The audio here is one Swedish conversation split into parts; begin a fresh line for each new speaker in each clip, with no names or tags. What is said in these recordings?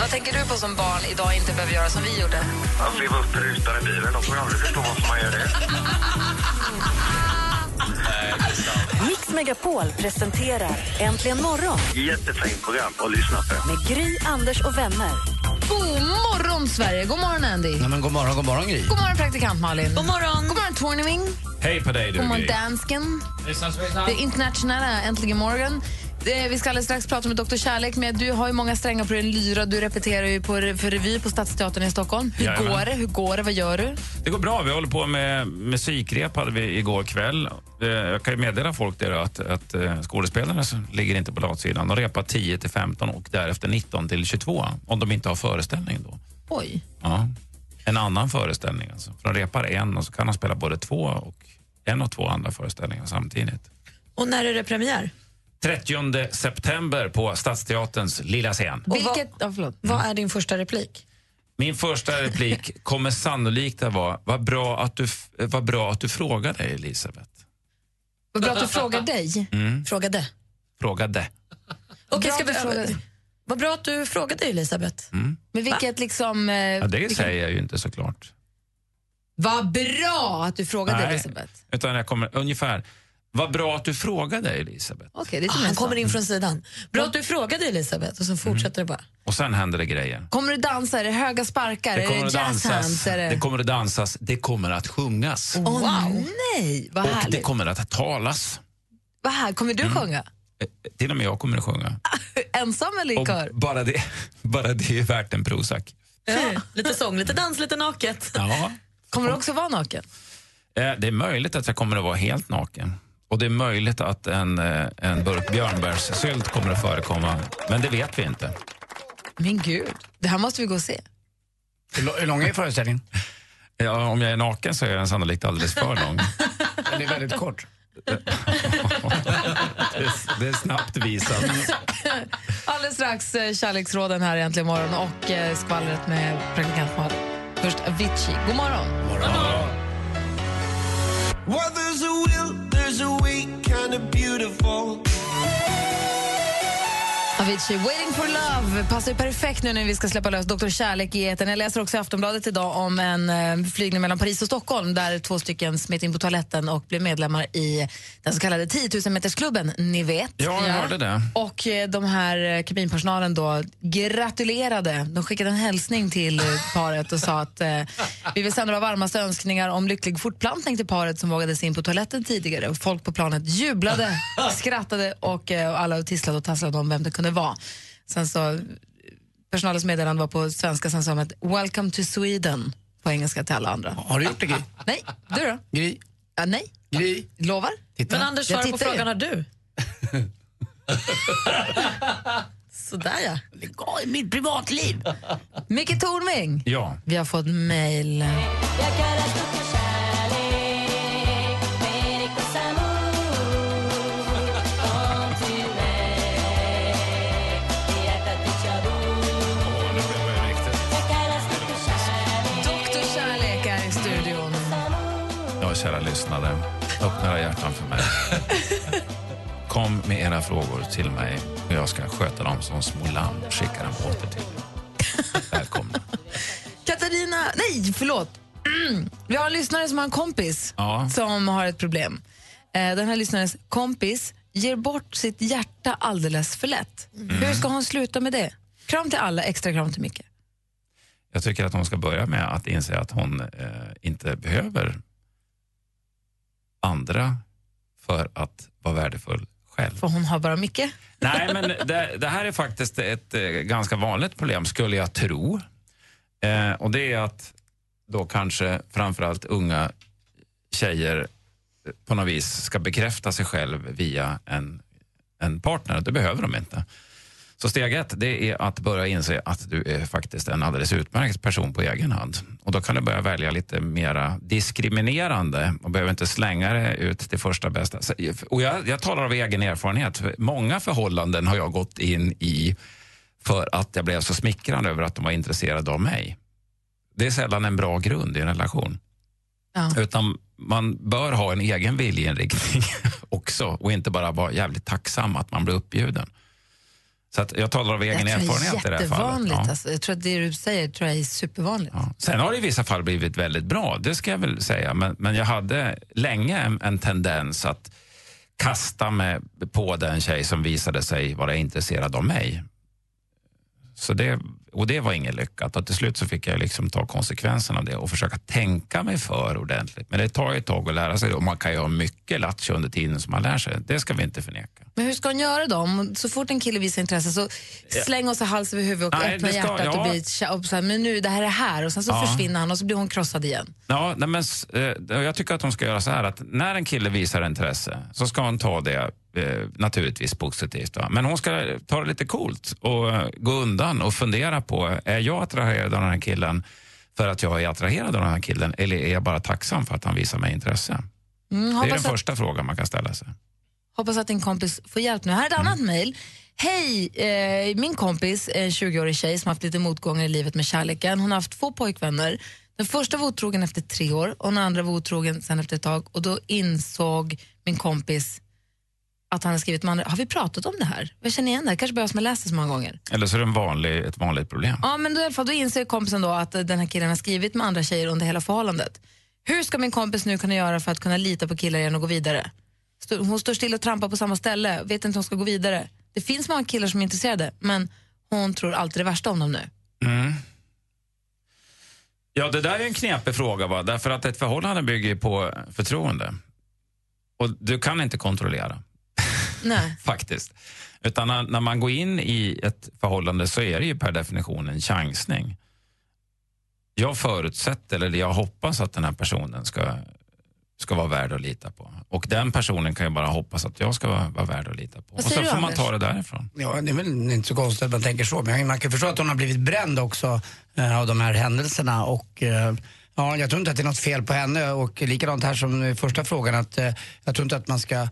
Vad tänker du på som barn idag inte behöver göra som vi gjorde?
Att leva upp rutan i bilen, de kommer aldrig förstå varför man gör det.
Mix Megapol presenterar Äntligen morgon
Jättefint program att lyssna på.
med Gry, Anders och vänner.
God morgon, Sverige! God morgon, Andy!
Ja, men god morgon, god morgon Gry.
God morgon, praktikant Malin! God morgon, God morgon Tornving!
Hej på dig du
God morgon,
Gry.
dansken! Det internationella Äntligen morgon. Eh, Vi ska alldeles strax prata med Dr. Kärlek, men du har ju många strängar på din lyra. Du repeterar ju på, re- för revy på Stadsteatern i Stockholm. Hur
Jajamän.
går det? Hur går det? Vad gör du?
Det går bra. Vi håller på med musikrep hade vi igår kväll. Eh, Jag kan ju meddela folk det då, att, att eh, skådespelarna så ligger inte på latsidan. De repar 10 till 15 och därefter 19 till 22 om de inte har föreställning då.
Oj.
Ja. En annan föreställning alltså. För de repar en och så kan de spela både två och en och två andra föreställningar samtidigt.
Och när är det premiär?
30 september på Stadsteaterns lilla scen.
Vilket... Ja, förlåt.
Vad är din första replik?
Min första replik kommer sannolikt att vara, vad bra att du, f- eh, vad bra att du frågade Elisabeth.
Vad bra att du frågar dig.
Mm.
Frågade.
Frågade.
Okej, ska
Bra
vi
att du
fråga.
frågade.
Vad bra att du frågade Elisabeth.
Men vilket liksom... eh,
Mm. Ja, det säger jag ju inte såklart.
Vad bra att du frågade Elisabeth.
utan jag kommer ungefär, vad bra att du frågade Elisabeth.
Okej, det är
Ah,
som
han
jag sa. Mm.
kommer in från sidan. Bra att du frågade Elisabeth och så fortsätter det bara.
Och sen händer det grejer.
Kommer du dansa? Är det höga sparkar?
Det
är
kommer
det
att
jazzhands?
dansas,
Det...
det
Det
kommer att dansas, det kommer att sjungas.
Åh nej, vad
Och det
härligt.
kommer att talas.
Vad här, kommer du sjunga?
Eh, Till och med jag kommer att sjunga.
Ensam eller i
Och
kör?
bara det, bara det är värt en Prozac.
Ja, lite sång, lite dans, lite naket.
Ja.
Kommer du också vara naken?
Eh, Det är möjligt att jag kommer att vara helt naken. Och det är möjligt att en, eh, en burk björnbärssylt kommer att förekomma. Men det vet vi inte.
Min gud, det här måste vi gå och se.
Hur lång är föreställningen?
Ja, om jag är naken så är den sannolikt alldeles för lång.
Den är väldigt kort.
Det är, det är snabbt visat.
Alldeles strax eh, kärleksråden här egentligen imorgon och eh, skvallret med praktikant Malin. Först Avicii, god morgon. Avicii, Waiting for love. Passar ju perfekt nu när vi ska släppa lös Dr. Kärlek i etern. Jag läser också i Aftonbladet idag om en eh, flygning mellan Paris och Stockholm där två stycken smet in på toaletten och blev medlemmar i den så kallade 10 000-metersklubben, ni vet.
Ja, jag hörde det.
Och eh, de här eh, kabinpersonalen då gratulerade. De skickade en hälsning till eh, paret och sa att eh, vi vill sända våra varmaste önskningar om lycklig fortplantning till paret som vågade sig in på toaletten tidigare. Och Folk på planet jublade, skrattade och eh, och alla tisslade och tasslade om vem det kunde vara. Sen så, personalens meddelande var på svenska, sen sa de att “Welcome to Sweden” på engelska till alla andra.
Har du gjort det Gry?
Nej, du då?
Gry?
Ja, nej,
Gry?
lovar?
Titta.
Men Anders,
Jag
svara på
tittar ju.
frågan har du. Sådär ja. Lägg av i mitt privatliv.
Micke Tornving,
Ja.
vi har fått mail. Doktor Kärlek är i studion.
Ja, kära lyssnare. Öppna era hjärtan för mig. Kom med era frågor till mig och jag ska sköta dem som små lamm och skicka dem åter till er. Välkomna.
Katarina, nej förlåt. Mm. Vi har en lyssnare som har en kompis
Ja.
som har ett problem. Eh, Den här lyssnarens kompis ger bort sitt hjärta alldeles för lätt.
Mm.
Hur ska hon sluta med det? Kram till alla, extra kram till Micke.
Jag tycker att hon ska börja med att inse att hon eh, inte behöver andra för att vara värdefull själv.
För hon har bara Micke.
Nej, men det, det här är faktiskt ett eh, ganska vanligt problem skulle jag tro. Eh, och det är att då kanske framförallt unga tjejer eh, på något vis ska bekräfta sig själv via en, en partner. Det behöver de inte. Så steg ett det är att börja inse att du är faktiskt en alldeles utmärkt person på egen hand. Och då kan du börja välja lite mera diskriminerande och behöver inte slänga det ut till första bästa. Så- Och jag, jag talar av egen erfarenhet. Många förhållanden har jag gått in i för att jag blev så smickrad över att de var intresserade av mig. Det är sällan en bra grund i en relation.
Ja.
Utan man bör ha en egen viljeinriktning också och inte bara vara jävligt tacksam att man blir uppbjuden. Så att jag talar av egen
jag tror
erfarenhet
det är
i det här fallet.
jättevanligt.
Ja.
Alltså, jag tror att det du säger tror jag är supervanligt.
Ja. Sen har det i vissa fall blivit väldigt bra, det ska jag väl säga. Men, men jag hade länge en, en tendens att kasta mig på den tjej som visade sig vara intresserad av mig. Så det, och det var inget lyckat. Och till slut så fick jag liksom ta konsekvenserna av det och försöka tänka mig för ordentligt. Men det tar ju ett tag att lära sig det och man kan ju ha mycket lattjo under tiden som man lär sig. Det ska vi inte förneka.
Men hur ska hon göra då? Om- Så fort en kille visar intresse så släng oss i hals över huvud och
Nej,
öppna
det ska-
hjärtat och
ja.
bli tja- och så här, men nu, det här är här. Och sen så
Ja.
försvinner han och så blir hon krossad igen.
Ja, nej men, s- eh, jag tycker att hon ska göra så här att när en kille visar intresse så ska hon ta det eh, naturligtvis positivt. Va? Men hon ska ta det lite coolt och eh, gå undan och fundera på är jag attraherad av den här killen för att jag är attraherad av den här killen eller är jag bara tacksam för att han visar mig intresse?
Mm,
Det är den
hoppas, att,
första frågan man kan ställa sig.
hoppas att din kompis får hjälp nu. Här är ett annat mejl. Hej, eh, min kompis, en 20-årig tjej som haft lite motgångar i livet med kärleken. Hon har haft två pojkvänner. Den första var otrogen efter tre år och den andra var otrogen sen efter ett tag. Och då insåg min kompis att han har skrivit med andra. Har vi pratat om det här? Jag känner igen det här. kanske bara jag som har läst det så många gånger.
Eller så är det en vanlig, ett vanligt problem.
Ja, men då, i alla fall, då inser kompisen då att eh, den här killen har skrivit med andra tjejer under hela förhållandet. Hur ska min kompis nu kunna göra för att kunna lita på killar igen och gå vidare? Stå- Hon står still och trampar på samma ställe, vet inte hur hon ska gå vidare. Det finns många killar som är intresserade, men hon tror alltid det värsta om dem nu.
Ja, det där är en knepig fråga. Va? Därför att ett förhållande bygger ju på förtroende. Och du kan inte kontrollera.
Nej.
faktiskt. Utan när, när man går in i ett förhållande så är det ju per definition en chansning. Jag förutsätter, eller jag hoppas att den här personen ska, ska vara värd att lita på. Och den personen kan ju bara hoppas att jag ska vara, vara värd att lita på.
Vad
Och så
säger du,
får man
Anders?
ta det därifrån.
Ja, det är väl inte så konstigt att man tänker så. Men man kan förstå att hon har blivit bränd också eh, av de här händelserna. Och, eh, ja, jag tror inte att det är något fel på henne. Och likadant här som i första frågan. Att, eh, jag tror inte att man ska eh,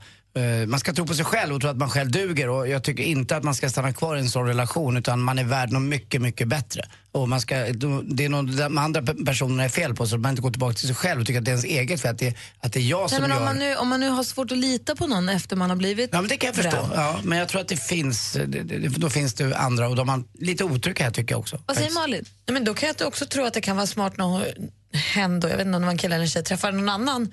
man ska tro på sig själv och tro att man själv duger och jag tycker inte att man ska stanna kvar i en sån relation utan man är värd något mycket, mycket bättre. Och man ska, det är något de andra pe- personerna är fel på så man inte går tillbaka till sig själv och tycker att det är ens eget fel, att det, att det är jag
Nej
som
men
gör...
om, man nu, om man nu har svårt att lita på någon efter man har blivit
Ja, men det kan jag förstå.
bränd.
Ja, men jag tror att det finns, det, det, då finns det andra och de har lite otur kan jag tycka också.
Vad säger Malin?
Nej, men då kan jag också tro att det kan vara smart när hon- hen, då, jag vet inte om det var en kille eller en tjej, träffar någon annan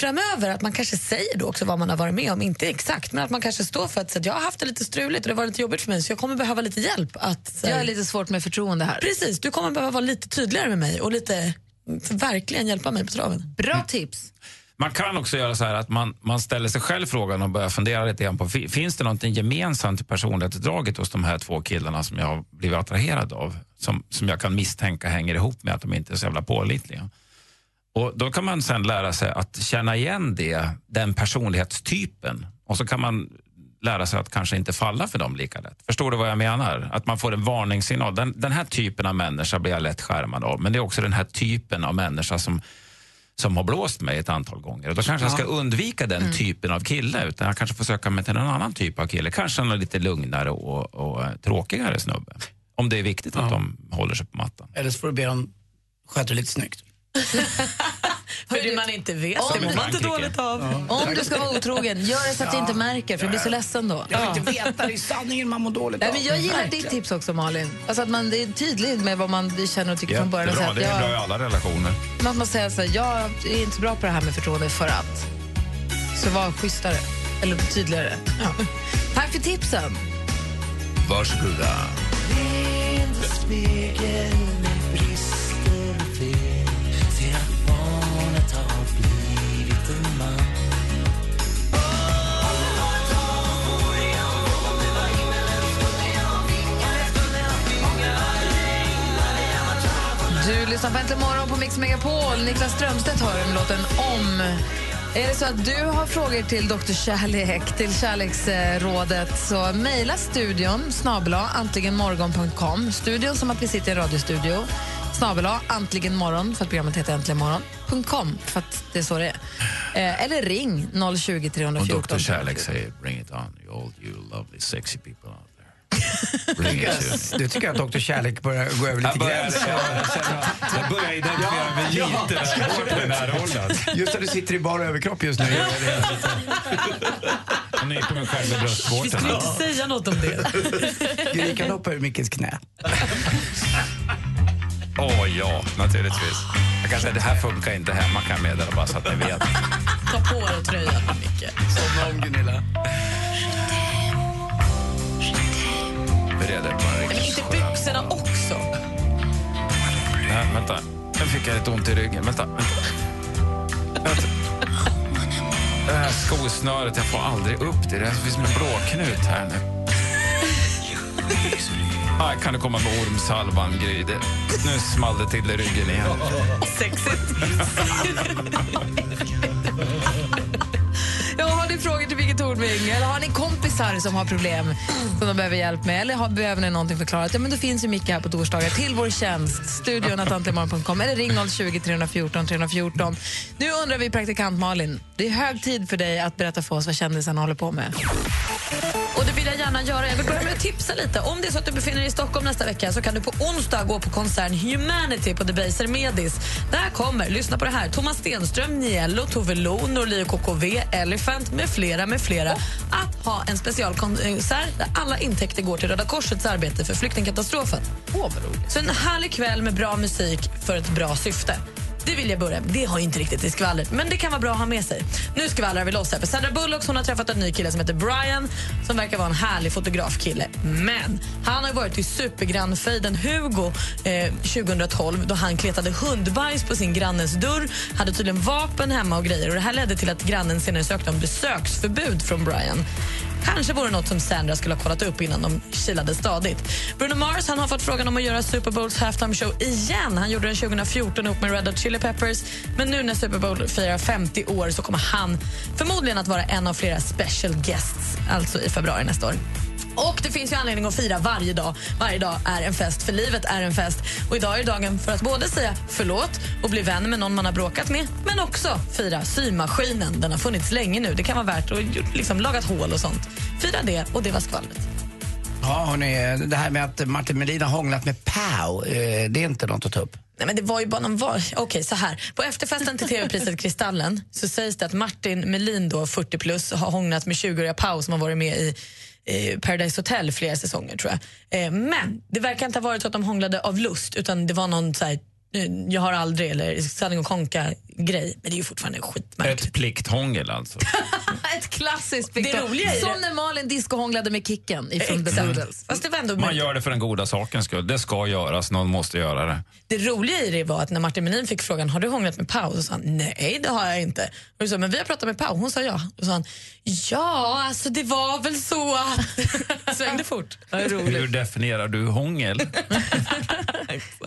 framöver, att man kanske säger då också vad man har varit med om, inte exakt, men att man kanske står för att så att jag har haft det lite struligt och det var lite jobbigt för mig så jag kommer behöva lite hjälp att så här,
Jag har lite svårt med förtroende här.
precis, du kommer behöva vara lite tydligare med mig och lite så verkligen hjälpa mig på traven.
Bra tips.
Man kan också göra så här att man, man ställer sig själv frågan och börjar fundera lite grann på fi- finns det någonting gemensamt i personlighetsdraget hos de här två killarna som jag har blivit attraherad av? Som, som jag kan misstänka hänger ihop med att de inte är så jävla pålitliga. Och då kan man sen lära sig att känna igen det, den personlighetstypen. Och så kan man lära sig att kanske inte falla för dem lika lätt. Förstår du vad jag menar? Att man får en varningssignal. Den, den här typen av människa blir jag lätt skärmad av. Men det är också den här typen av människa som som har blåst mig ett antal gånger. Och då kanske jag ska undvika den
Mm.
typen av kille. Utan jag kanske får söka mig till en annan typ av kille. Kanske en lite lugnare och, och eh, tråkigare snubbe. Om det är viktigt att de håller sig på mattan.
Eller så får du be dem sköta det lite snyggt.
För det man inte vet,
Om
det mår
du-
man inte dåligt av.
Om du ska vara otrogen, gör det så att du inte märker för du blir så ledsen då.
Jag vill inte veta, det är sanningen man mår dåligt
Nej, men jag gillar
Verkligen.
ditt tips också, Malin. Alltså att man det är tydlig med vad man känner och tycker från början. Så att jag,
alla relationer.
man måste säga så här, jag är inte så bra på det här med förtroende för att. Så var schysstare, eller tydligare. Ja. Tack för tipsen.
Varsågoda.
Du lyssnar på Äntligen morgon på Mix Megapol. Niklas Strömstedt hör den låten Om. Är det så att du har frågor till Dr. Kärlek, till Kärleksrådet, så mejla studion snabela antligenmorgon.com. Studion som att vi sitter i en radiostudio. Snabela antligenmorgon, för att programmet heter Äntligen morgon. .com, för att det är så det är. Eh, eller ring 020
Och
314.
Dr. Kärlek säger bring it on, you old you lovely sexy people out there. Bring it to me.
Du tycker att Dr Kärlek börjar gå över lite gränsen.
jag börjar identifiera mig lite där, den här rollen.
Just att du sitter i bara överkropp just nu.
Jag nyper mig själv
Vi
i
skulle
bröstvårtan.
inte säga något om det.
Erika hoppar ur Mickes knä.
Åh ja, naturligtvis. Jag kan säga det här funkar inte hemma kan jag meddela bara så att ni vet.
Ta på dig tröjan, Micke.
Somna om Gunilla. Bered er på en
Men
riktigt
inte
skön-
byxorna också.
Nej, vänta. Nu fick jag lite ont i ryggen. Vänta. vänta. Vänta. Det här skosnöret, jag får aldrig upp det. Det är som en blåknut här nu. Aj, kan du komma med ormsalvan, Gry? Det- Nu small det till i ryggen igen.
Sexigt.
Ja, har ni frågor till Birgit Tornving eller har ni kompisar som har problem som de behöver hjälp med eller har, behöver ni någonting förklarat? Ja, men då finns ju Micke här på torsdagar till vår tjänst. Studion attantlimorgon.com eller ring 020 314 314. Nu undrar vi praktikant Malin, det är hög tid för dig att berätta för oss vad kändisarna håller på med.
Och det vill jag gärna göra. Jag vill börja med att tipsa lite. Om det är så att du befinner dig i Stockholm nästa vecka så kan du på onsdag gå på konserten Humanity på Debaser Medis. Där kommer, lyssna på det här, Thomas Stenström, Niello, Tove Lo, Norli KKV, Elephant med flera, med flera. Att ha en specialkonsert där alla intäkter går till Röda Korsets arbete för flyktingkatastrofen. Så en härlig kväll med bra musik för ett bra syfte. Det vill jag börja med. Det har ju inte riktigt i skvallret, men det kan vara bra att ha med sig. Nu skvallrar vi loss här. För Sandra Bullock hon har träffat en ny kille som heter Brian som verkar vara en härlig fotografkille. Men han har ju varit i supergrannfejden Hugo eh, 2012 då han kletade hundbajs på sin grannens dörr, hade tydligen vapen hemma och grejer. Och Det här ledde till att grannen senare sökte om besöksförbud från Brian. Kanske vore något som Sandra skulle ha kollat upp innan de kilade stadigt. Bruno Mars han har fått frågan om att göra Super Bowls halftime show igen. Han gjorde den 2014 ihop med Red Hot Chili Peppers. Men nu när Super Bowl firar 50 år så kommer han förmodligen att vara en av flera special guests, alltså i februari nästa år. Och det finns ju anledning att fira varje dag. Varje dag är en fest, för livet är en fest. Och idag är dagen för att både säga förlåt och bli vän med någon man har bråkat med, men också fira symaskinen. Den har funnits länge nu. Det kan vara värt att liksom lagat hål och sånt. Fira det, och det var skvallret.
Ja, hörni, det här med att Martin Melin har hånglat med Pau, eh, det är inte något att ta upp.
Nej, men det var ju bara någon var... Okej, så här. På efterfesten till TV-priset Kristallen så sägs det att Martin Melin, då, 40 plus, har hånglat med 20-åriga Pau som har varit med i eh, Paradise Hotel flera säsonger, tror jag. Eh, men det verkar inte ha varit så att de hånglade av lust, utan det var någon så här, eh, jag har aldrig, eller sanning och konka-grej. Men det är ju fortfarande skitmärkligt.
Ett plikthångel alltså.
Ett klassiskt
Det roliga är ju-
Som när Malin discohånglade med Kicken ifrån The Doodles.
Fast det var ändå
Man gör det för den goda sakens skull. Det ska göras, någon måste göra det.
Det roliga i det var att när Martin Melin fick frågan har du hånglat med Pau? Så sa han nej, det har jag inte. Och så, men vi har pratat med Pau, hon sa ja. Och så sa han ja, alltså det var väl så. Svängde fort.
Hur definierar du hångel?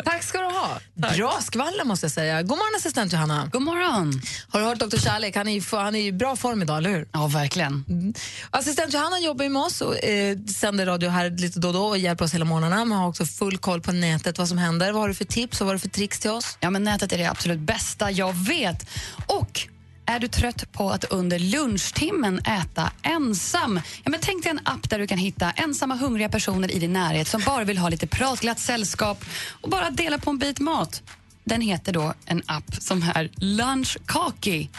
Tack ska du ha. Bra skvaller måste jag säga. God morgon assistent Johanna.
God morgon.
Har du hört Dr. Kärlek? Han är ju- han är ju i bra form idag, eller hur?
Ja, verkligen.
Mm. Assistent Johanna jobbar ju med oss och eh, sänder radio här lite då och då och hjälper oss hela morgnarna. Man har också full koll på nätet, vad som händer. Vad har du för tips och vad har du för tricks till oss?
Ja, men nätet är det absolut bästa jag vet. Och är du trött på att under lunchtimmen äta ensam? Ja, men tänk dig en app där du kan hitta ensamma hungriga personer i din närhet som bara vill ha lite pratglatt sällskap och bara dela på en bit mat. Den heter då en app som är Lunchkaki.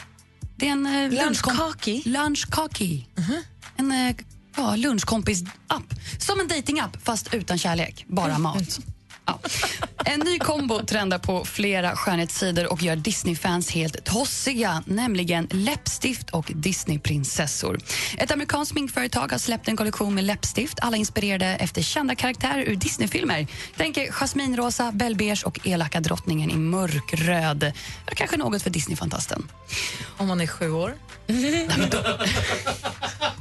Det är en eh, lunchkom-
Lunchkaki?
Lunchkaki.
Mhm.
En eh, ja, lunchkompis-app. Som en datingapp fast utan kärlek, bara
Mm.
mat. Ja. En ny kombo trendar på flera skönhetssidor och gör Disney-fans helt tossiga, nämligen läppstift och Disney-prinsessor. Ett amerikanskt sminkföretag har släppt en kollektion med läppstift, alla inspirerade efter kända karaktärer ur Disney-filmer. Tänker jasminrosa, belbeige och elaka drottningen i mörkröd. Kanske något för Disney-fantasten.
Om man är sju år.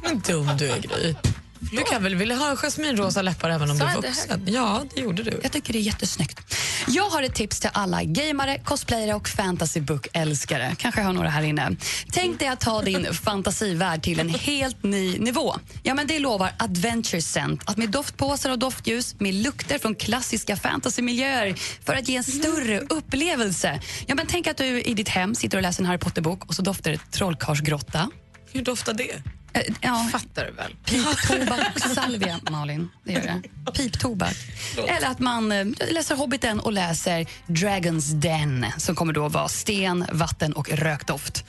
Men dum du är Gry. Du kan väl vilja ha jasminrosa läppar även om
Sa
du är
jag det här?
vuxen? Ja, det gjorde du.
Jag tycker det är jättesnyggt. Jag har ett tips till alla gamare, cosplayare och fantasybook-älskare. Kanske jag har några här inne. Tänk dig att ta din fantasivärld till en helt ny nivå. Ja, men det lovar Adventure Scent. Att med doftpåsar och doftljus, med lukter från klassiska fantasymiljöer för att ge en större upplevelse. Ja, men tänk att du i ditt hem sitter och läser en Harry Potter-bok och så doftar det trollkarlsgrotta.
Hur doftar det?
Eh, Ja,
Fattar du väl?
Piptobak och salvia, Malin. Det gör det. Piptobak. Eller att man eh, läser Hobbiten och läser Dragons Den som kommer då vara sten, vatten och rökdoft.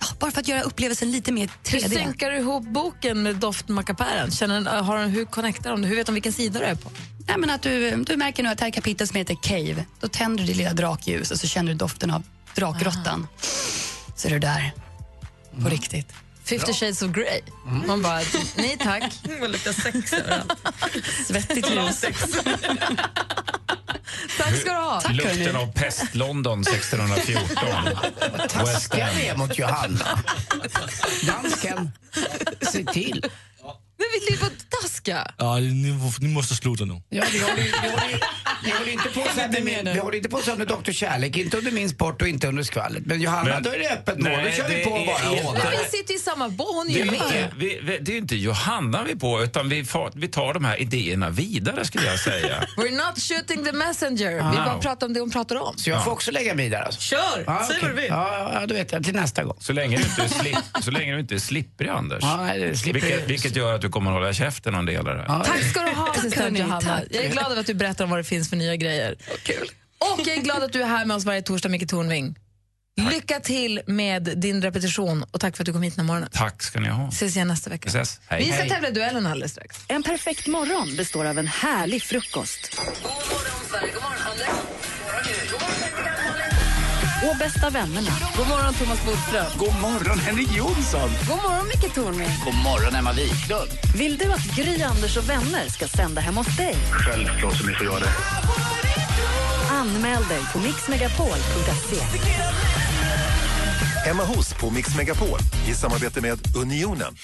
Ja, Bara för att göra upplevelsen lite mer
Hur
3D.
synkar du ihop boken med doftmackapären? Känner- har de- Hur connectar de det? Hur vet de vilken sida du är på?
Nej, men att du, du märker nu att det här är kapitel som heter Cave. Då tänder du ditt lilla drakljus och så känner du doften av drakgrottan. Så är du där, på riktigt.
50 shades of Grey. Man bara, nej tack.
Vad lite sex överallt.
Svettigt ljus.
Tack ska du ha.
Lukten av pest-London 1614. West
Taskiga
End.
vi är mot Johanna. Dansken, se till.
Nu vill du vara taskiga.
Ja, ni, ni måste sluta nu.
Ja, vi håller, vi håller, vi håller inte på så under min, vi håller inte på så under Dr Kärlek, inte under min sport och inte under skvallret. Men Johanna,
Men-
då är det öppet mål. Då
Nej,
kör vi
det
på
är
och bara
inte-
hånar.
Vi sitter i samma båt, hon är
Det
ju
är,
med.
inte, vi, vi- det är inte Johanna vi är på, utan vi, far, vi tar de här idéerna vidare skulle jag säga.
We're not shooting the messenger. Vi bara pratar om det hon pratar om. Ah,
Så jag får också lägga mig där alltså?
Kör!
Ja,
Säg
okej.
vad du vill.
Ja, ja, då vet jag. Till nästa gång.
Så länge du inte är, slip, så länge du inte är slipprig, Anders.
Ja, nej, det slipper
vilket, vilket gör att du kommer hålla käften om delar här.
Tack ska du ha, assistent
hörni,
Johanna.
tack.
Jag är glad över att du berättar om vad det finns för nya grejer.
Kul.
Och jag är glad att du är här med oss varje torsdag, Micke Tornving. Lycka till med din repetition och tack för att du kom hit den här morgonen.
Tack ska ni ha.
ses igen nästa vecka.
Ses. Hej.
Vi ska
Hej.
tävla i duellen alldeles strax.
En perfekt morgon består av en härlig frukost. God morgon, Sverige. God morgon, Anders. God morgon, Och bästa vännerna.
God morgon, Thomas Bodström.
God morgon, Henrik Jonsson!
God morgon, Micke Tornving.
God morgon, Emma Wiklund!
Vill du att Gry, Anders och vänner ska sända hem hos dig?
Självklart som ni får göra det.
Anmäl dig på mixmegapol.se.
Emma Hos på Mix Megapol i samarbete med Unionen.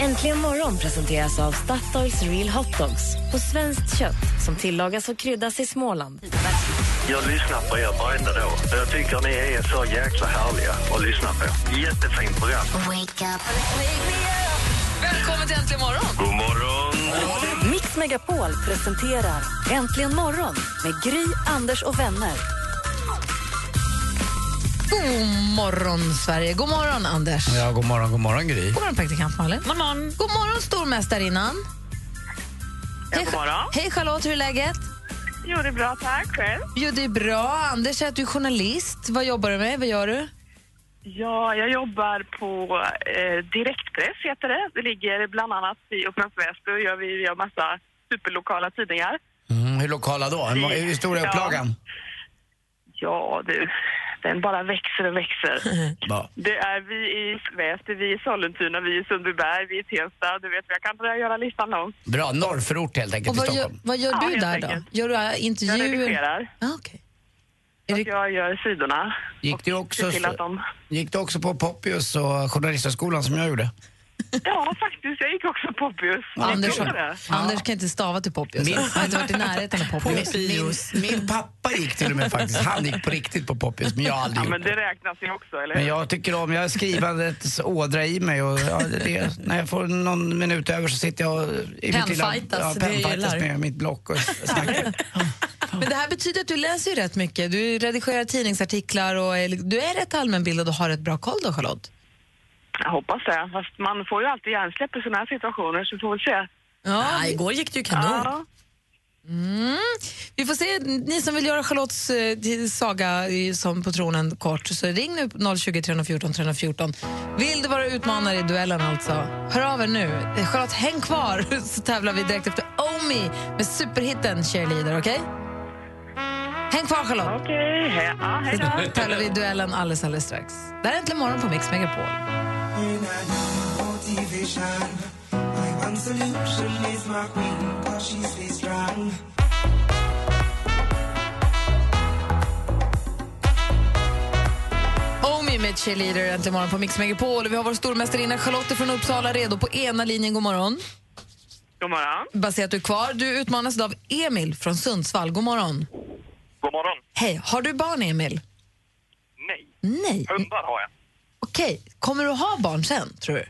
Äntligen morgon presenteras av Statoils Real Hot Dogs på svenskt kött som tillagas och kryddas i Småland.
Jag lyssnar på er varenda dag. Jag tycker ni är så jäkla härliga att lyssna på. Jättefint program.
Välkommen till Äntligen morgon.
God morgon!
Mix Megapol presenterar Äntligen morgon med Gry, Anders och vänner.
God morgon, Sverige. God morgon, Anders.
Ja, god morgon, god morgon Gry.
God morgon, praktikant Malin. God morgon, God morgon stormästarinnan. Ja, god morgon. Hej Charlotte, hur är läget?
Jo, det är bra. Tack själv.
Jo, det är bra. Anders säger att du är journalist. Vad jobbar du med? Vad gör du?
Ja, jag jobbar på eh, Direktpress, heter det. Det ligger bland annat i Upplands Väsby och gör vi gör massa superlokala tidningar.
Mm, hur lokala då? Hur, må- hur stor är
Ja.
upplagan?
Ja, du. Den bara växer och växer.
Ja.
Det är vi i Väsby, vi i Sollentuna, vi i Sundbyberg, vi i Tensta. Du vet, jag kan dra göra listan lång.
Bra, norrförort helt enkelt
Och
till
vad gör,
Stockholm.
vad gör
Ja,
du
helt
där då?
enkelt.
Gör du äh,
Jag
intervjuer?
redigerar.
Ah, okay.
Så att jag gör sidorna.
Gick du,
och ser
också,
till att de...
gick du också på Poppius och Journalisthögskolan som jag gjorde?
Ja, faktiskt. Jag gick också på Poppius.
Anders,
Gick du det?
Anders kan inte stava till Poppius.
Min-
Han har inte varit i närheten av Poppius.
Min, min pappa gick till och med faktiskt. Han gick på riktigt på Poppius, men jag har aldrig
Ja,
gjort
men
det.
det räknas ju också, eller hur?
Men jag tycker om, jag har skrivandets ådra i mig och ja, det- det, när jag får någon minut över så sitter jag och- i mitt lilla...
Penfightas,
ja,
det
penfightas
gillar.
med mitt block och snackar.
Men det här betyder att du läser ju rätt mycket. Du redigerar tidningsartiklar och är, du är rätt allmänbildad och har rätt bra koll då, Charlotte.
Jag hoppas det. Fast man får ju alltid hjärnsläpp i sådana här situationer, så vi får väl se.
Ja,
Nej, igår gick det ju kanon.
Ja.
Mm. Vi får se, ni som vill göra Charlottes eh, till saga i- som på tronen kort, så ring nu 020 314 314. Vill du vara utmanare i duellen alltså, hör av er nu. Eh, Charlotte, häng kvar så tävlar vi direkt efter Omi med superhitten Cheerleader, okej? Häng kvar Charlotte,
Okej, he- ja, hej då.
så tävlar vi i duellen alldeles, alldeles strax. Det här är Äntligen morgon på Mix Megapol. Omi med Cheerleader äntligen morgon på Mix Megapol. Vi har vår stormästarinna Charlotte från Uppsala redo på ena linjen. God morgon.
God morgon.
Bara se att du är kvar. Du utmanas av Emil från Sundsvall. God morgon.
God morgon.
Hej, har du barn Emil?
Nej.
Nej.
Hundar har jag,
Okej, kommer du ha barn sen tror du?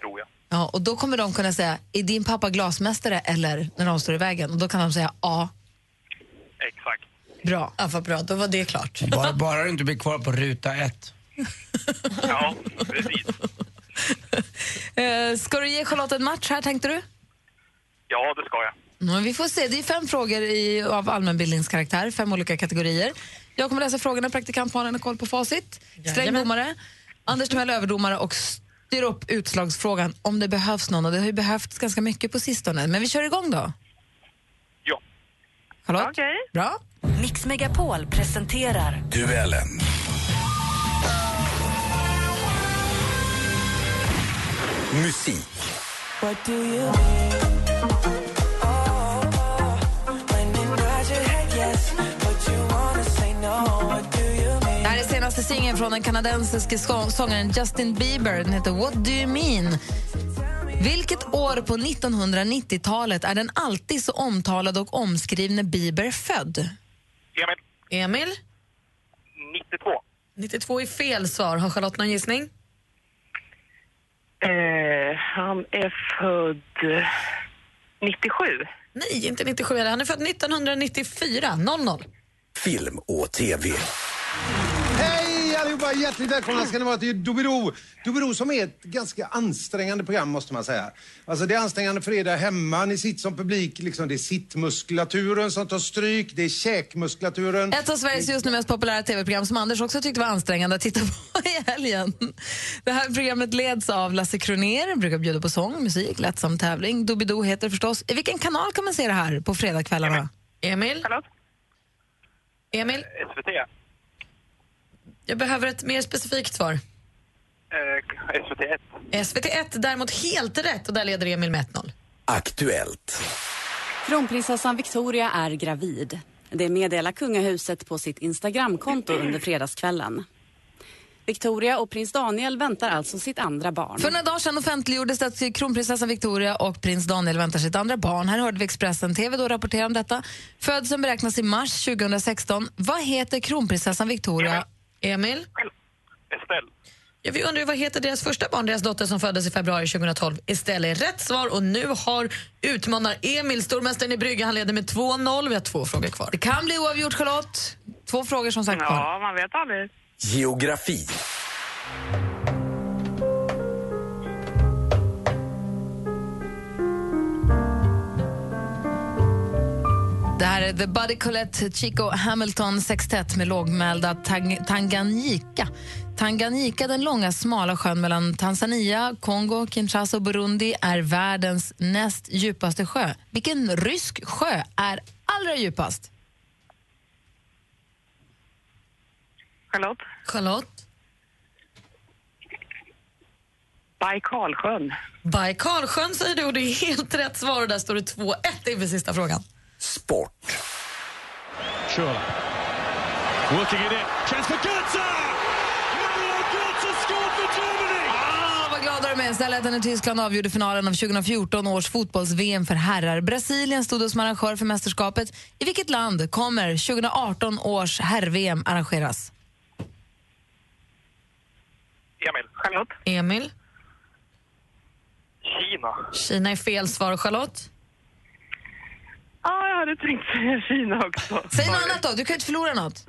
tror jag.
Ja, och då kommer de kunna säga, är din pappa glasmästare eller när de står i vägen? Och då kan de säga ja.
Exakt.
Bra.
Ja, vad bra. Då var det klart.
Bara, bara du inte blir kvar på ruta ett.
Ja, precis.
Eh, ska du ge Charlotte en match här tänkte du?
Ja, det ska jag.
Mm, vi får se. Det är fem frågor i, av allmänbildningskaraktär, fem olika kategorier. Jag kommer läsa frågorna, praktikant Malin har koll på facit. Sträng domare, Anders Timell överdomare och styr upp utslagsfrågan om det behövs någon. Och det har ju behövts ganska mycket på sistone. Men vi kör igång då.
Ja.
Charlotte? Bra.
Mix Megapol presenterar
Duellen.
Musik.
Det här är senaste singeln från den kanadensiske skå- sångaren Justin Bieber. Den heter What Do You Mean? Vilket år på 1990-talet är den alltid så omtalade och omskrivne Bieber född?
Emil,
Emil?
92.
92 är fel svar. Har Charlotte någon gissning?
Eh, han är född 97.
Nej, inte 97 heller. Han är född 1994. 00.
Film och TV.
Hej allihopa! Hjärtligt välkomna ska ni vara till Dobero. Dobero som är ett ganska ansträngande program måste man säga. Alltså det är ansträngande för er där hemma. Ni sitter som publik. Liksom, det är sittmuskulaturen som tar stryk. Det är käkmuskulaturen.
Ett av Sveriges just nu mest populära tv-program som Anders också tyckte var ansträngande att titta på i helgen. Det här programmet leds av Lasse Kronér, brukar bjuda på sång, musik, lättsam tävling. Doobidoo heter det förstås. I vilken kanal kan man se det här på fredagskvällarna?
Emil?
Charlotte?
Emil?
SVT.
Jag behöver ett mer specifikt svar.
Eh, SVT1.
SVT1 däremot helt rätt och där leder Emil med 1-0.
Aktuellt.
Kronprinsessan Victoria är gravid. Det meddelar kungahuset på sitt Instagramkonto under fredagskvällen. Victoria och prins Daniel väntar alltså sitt andra barn.
För några dagar sedan offentliggjordes det att kronprinsessan Victoria och prins Daniel väntar sitt andra barn. Här hörde vi Expressen TV då rapportera om detta. Födseln beräknas i mars 2016. Vad heter kronprinsessan Victoria?
Emil?
Estelle.
Ja, vi undrar ju vad heter deras första barn, deras dotter som föddes i februari 2012. Estelle är rätt svar och nu har utmanar Emil stormästaren i brygga. Han leder med 2-0. Vi har två frågor kvar.
Det kan bli oavgjort, Charlotte. Två frågor som sagt kvar.
Ja, man vet aldrig.
Geografi.
Det här är The Buddy Collette Chico Hamilton sextett med lågmälda tang- Tanganyika. Tanganyika, den långa smala sjön mellan Tanzania, Kongo, Kinshasa och Burundi är världens näst djupaste sjö. Vilken rysk sjö är allra djupast?
Charlotte?
Charlotte?
Baikalsjön.
Baikalsjön säger du och det är helt rätt svar och där står det 2-1 inför sista frågan.
Sport.
Sure. Working it in. Chance for Götze! Manuel Götze scored for Germany!
Ah, vad glada de är. Istället när Tyskland avgjorde finalen av 2014 års fotbolls-VM för herrar. Brasilien stod som arrangör för mästerskapet. I vilket land kommer 2018 års herr-VM arrangeras?
Emil. Charlotte.
Emil?
Kina.
Kina är fel svar. Charlotte?
Ja, jag hade tänkt säga Kina också.
Säg något annat då, du kan ju inte förlora något.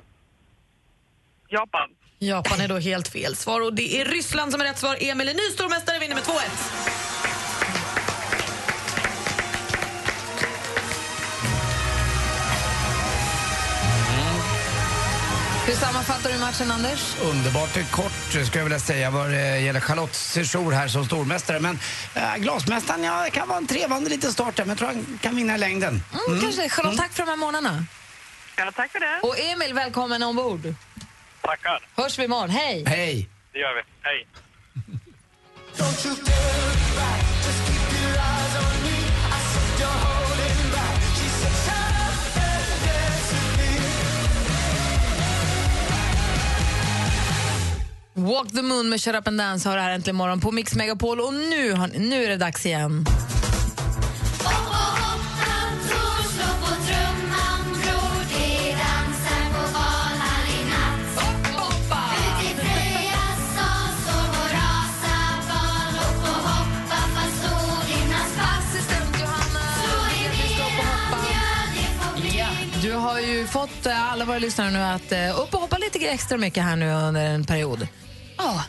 Japan.
Japan är då helt fel svar och det är Ryssland som är rätt svar. Emil är ny stormästare vinner med 2-1.
Hur sammanfattar du matchen, Anders?
Underbart kort skulle jag vilja säga vad det gäller Charlotte Sejour här som stormästare. Men äh, glasmästaren, ja, det kan vara en trevande liten start där, men jag tror han kan vinna i längden.
Mm, Kanske. Charlotte, tack för de här månaderna.
Ja, tack för det.
Och Emil, välkommen ombord.
Tackar.
Hörs vi imorgon. Hej!
Hej!
Det gör vi. Hej.
Walk the moon med Shut up and dance har här äntligen morgon på Mix Megapol. Och nu, har- nu är det dags igen. fått eh, alla våra lyssnare nu att eh, upp och hoppa lite extra mycket här nu under en period.
Ja,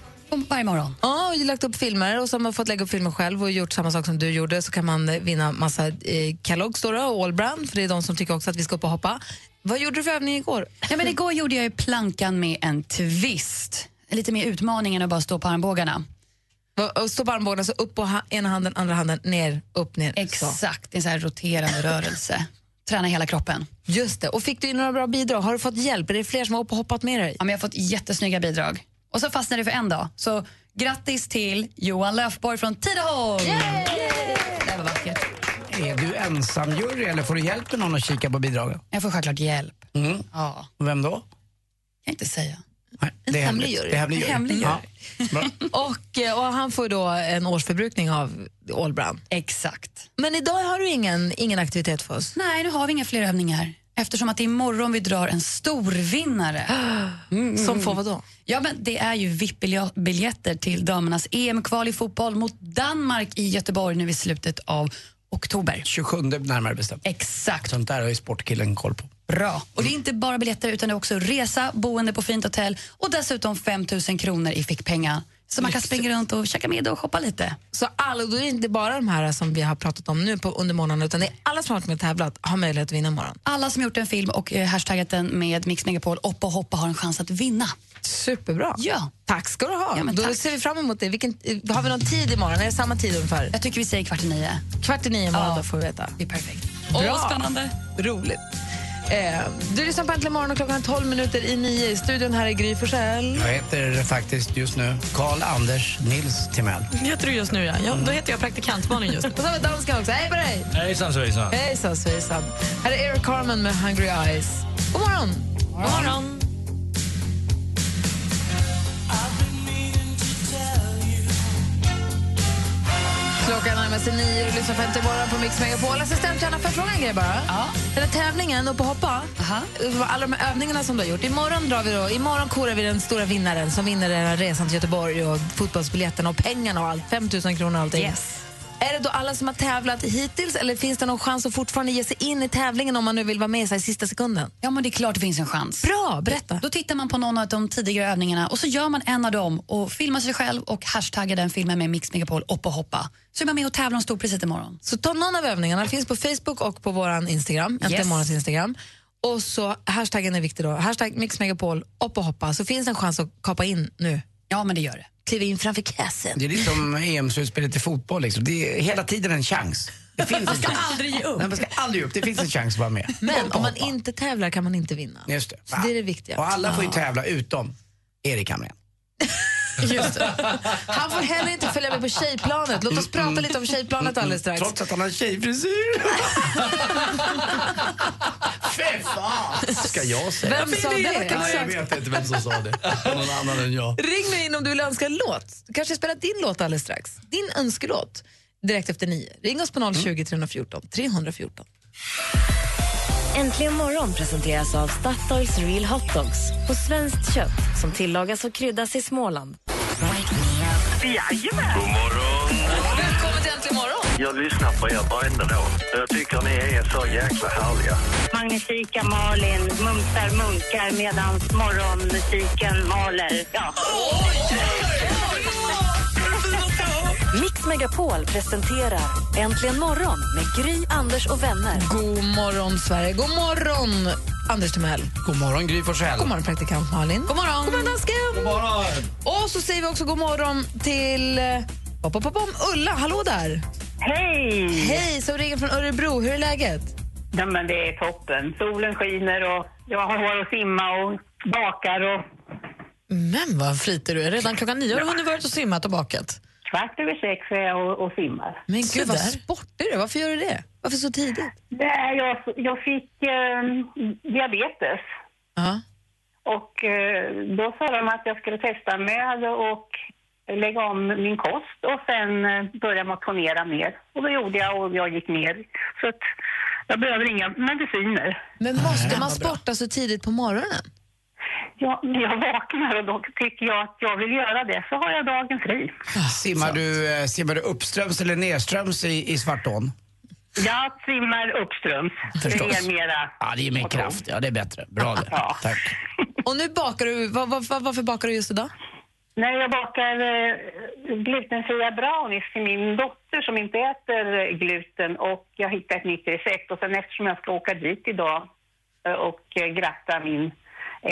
varje morgon.
Ja, och lagt upp filmer och som har fått lägga upp filmer själv och gjort samma sak som du gjorde så kan man eh, vinna massa eh, Kellogg står det, och Allbrand för det är de som tycker också att vi ska upp och hoppa. Vad gjorde du för övning igår?
Ja, men igår gjorde jag ju plankan med en twist. Lite mer utmaning än att bara stå på armbågarna.
Va- och Stå på armbågarna, så upp på ha- ena handen, andra handen, ner, upp, ner.
Exakt, det är en sån här roterande rörelse. Träna hela kroppen.
Just det. Och fick du in några bra bidrag? Har du fått hjälp? Är det fler som har upp och hoppat med dig?
Ja, men jag har fått jättesnygga bidrag. Och så fastnade det för en dag. Så grattis till Johan Löfborg från Tidaholm! Det var vackert.
Är du ensam jury eller får du hjälp av någon att kika på bidragen?
Jag får självklart hjälp.
Mm.
Ja.
Och Vem då?
kan inte säga.
Nej, det är hemligt. Det är hemlig jury. Ja.
och, eh, och han får då en årsförbrukning av Allbrand.
Exakt.
Men idag har du ingen, ingen aktivitet för oss?
Nej, nu har vi inga fler övningar. Eftersom att det är imorgon vi drar en storvinnare.
Som får vadå?
Ja, men det är ju VIP-biljetter till damernas EM-kval i fotboll mot Danmark i Göteborg nu i slutet av oktober.
27 närmare bestämt.
Exakt.
Sånt där har ju sportkillen koll på.
Bra. Och det är inte bara biljetter utan det är också resa, boende på fint hotell och dessutom 5 000 kronor i fickpengar. Så man kan springa runt och käka middag och shoppa lite.
Så alla, då är det inte bara de här som vi har pratat om nu på, under morgonen utan det är alla som har varit med och tävlat har möjlighet att vinna imorgon.
Alla som gjort en film och eh, hashtaggat den med Mix Megapol upp och hoppa har en chans att vinna.
Superbra.
Ja.
Tack ska du ha.
Ja, men
då
tack.
ser vi fram emot det. Vilken, eh, har vi någon tid imorgon? Är det samma tid ungefär?
Jag tycker vi säger kvart i nio.
Kvart i nio imorgon, då får vi veta.
Det är perfekt.
Bra.
Åh, spännande.
Roligt. Eh, du lyssnar på Äntligen morgon och klockan är 12 minuter i nio. I studion här är Gry Forssell.
Jag heter faktiskt just nu Karl Anders Nils Timell.
Jag tror just nu, ja. Jag, då heter jag praktikant Malin just nu.
Och så har vi dansken också. Hej på dig!
Hejsan svejsan.
Hejsan svejsan. Här är Eric Carmen med Hungry Eyes. God morgon! God
morgon!
Klockan närmar sig nio och lyssnar på Äntligen morgon på Mix Megapol. Assistent, Johanna, får jag fråga en grej bara? Ja. Den här tävlingen, Upp och hoppa, alla de här övningarna som du har gjort. Imorgon, drar vi då, imorgon korar vi den stora vinnaren som vinner den här resan till Göteborg och fotbollsbiljetterna och pengarna och allt. 5 000 kronor och allting.
Yes.
Är det då alla som har tävlat hittills eller finns det någon chans att fortfarande ge sig in i tävlingen om man nu vill vara med så här i sista sekunden?
Ja, men det är klart det finns en chans.
Bra, berätta.
Då tittar man på någon av de tidigare övningarna och så gör man en av dem och filmar sig själv och hashtaggar den filmen med Mix Megapol upp och hoppa. Så är man med och tävlar om storpriset imorgon.
Så ta någon av övningarna, finns på Facebook och på vår Instagram, Äntligen
Yes.
morgons Instagram. Och så hashtaggen är viktig då, hashtag mixmegapol, upp och hoppa, så finns det en chans att kapa in nu.
Ja, men det gör det.
Kliva in framför kassen.
Det är lite som EM-slutspelet i fotboll. Liksom. Det är hela tiden en chans. Det finns man ska
aldrig ge upp.
Nej, man ska aldrig ge upp. Det finns en chans att vara med.
Men om man inte tävlar kan man inte vinna.
Just det.
Så det är det viktiga.
Och alla får ju
Ja.
tävla utom Erik Hamrén.
Just det. Han får heller inte följa med på tjejplanet. Låt oss prata lite om tjejplanet alldeles strax.
Mm. Trots att han har tjejfrisyr. Fy fan! Ska Mm. jag säga?
Vem sa det?
Ja, jag vet inte vem som sa det. Någon annan än jag.
Ring mig in om du vill önska en låt. Du kanske spelar din låt alldeles strax. Din önskelåt direkt efter nio. Ring oss på 020 314 314.
Äntligen morgon presenteras av Statoils Real Hot Dogs på svenskt kött som tillagas och kryddas i Småland.
Jajamän! God morgon!
Välkommen till Äntligen morgon!
Jag lyssnar på er varenda dag. Jag tycker ni är så jäkla härliga.
Magnifika Malin mumsar munkar medan morgonmusiken maler. Ja.
Mix Megapol presenterar Äntligen morgon med Gry, Anders och vänner.
God morgon, Sverige. God morgon, Anders Timell.
God morgon, Gry Forssell.
God morgon, praktikant Malin. God morgon, God morgon dansken. God
morgon.
Och så säger vi också god morgon till eh, pop, pop, pop, pop, Ulla. Hallå där!
Hej!
Hej, som ringer från Örebro. Hur är läget?
Nej, men det är toppen. Solen skiner och jag har att simma och bakar och
Men vad flitig du är. Redan klockan nio har du hunnit varit och simmat och bakat.
kvart över sex är jag och, och simmar.
Men gud, vad sportig du är. Varför gör du det? Varför så tidigt?
Nej, jag, jag fick eh, diabetes.
Ja.
Och eh, då sa de att jag skulle testa med och lägga om min kost och sen eh, börja motionera mer. Och det gjorde jag och jag gick ner. Så att jag behöver inga mediciner.
Men måste man sporta så tidigt på morgonen?
Ja, när jag vaknar och då tycker jag att jag vill göra det så har jag dagen fri.
Simmar du, eh, simmar du uppströms eller nedströms i, i Svartån?
Jag simmar uppströms. Det
Förstås.
är mera...
Ja, det är mer kraft. Ja, det är bättre. Bra det. Tack.
Och nu bakar du, vad- vad- vad- varför bakar du just idag?
När jag bakar eh, glutenfria brownies till min dotter som inte äter eh, gluten och jag hittar ett nytt recept och sen eftersom jag ska åka dit idag eh, och eh, gratta min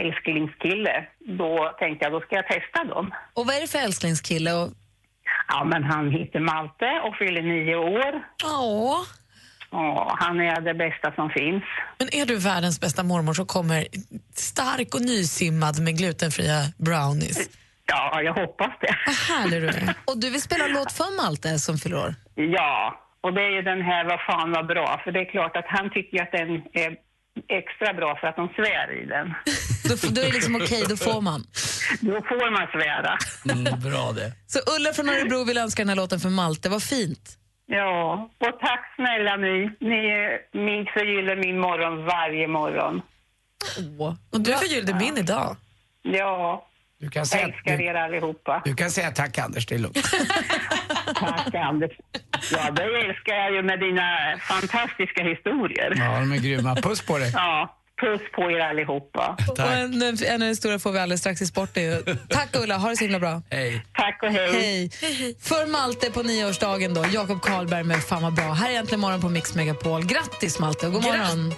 älsklingskille, då tänkte jag då ska jag testa dem.
Och vad är det för älsklingskille? Och...
Ja, men han heter Malte och fyller nio år.
Åh.
Ja, han är det bästa som finns.
Men är du världens bästa mormor så kommer stark och nysimmad med glutenfria brownies?
Ja, jag hoppas det.
Vad härlig du är.
Och du vill spela en låt för Malte som fyller år?
Ja, och det är ju den här Vad fan var bra, för det är klart att han tycker ju att den är extra bra för att de svär i den.
Då, f- då är det liksom okej, då får man.
Då får man svära.
Mm, bra det.
Så Ulla från Örebro vill önska den här låten för Malte, vad fint.
Ja, och tack snälla ni. Ni, eh, ni förgyller min morgon varje morgon.
Och du förgyllde min idag.
Ja,
Du kan säga,
älskar er allihopa.
du kan säga tack Anders, det är lugnt.
Tack Anders. Ja, det älskar jag ju med dina fantastiska historier.
Ja, de är grymma. Puss på dig.
Ja, puss på er allihopa.
Och en, en av de stora får vi alldeles strax i sport. är ju- Tack Ulla, ha det så himla bra.
Hej.
Tack och hej.
För Malte på nioårsdagen då, Jakob Karlberg med Fan vad bra. Här är Äntligen morgon på Mix Megapol. Grattis Malte och god morgon.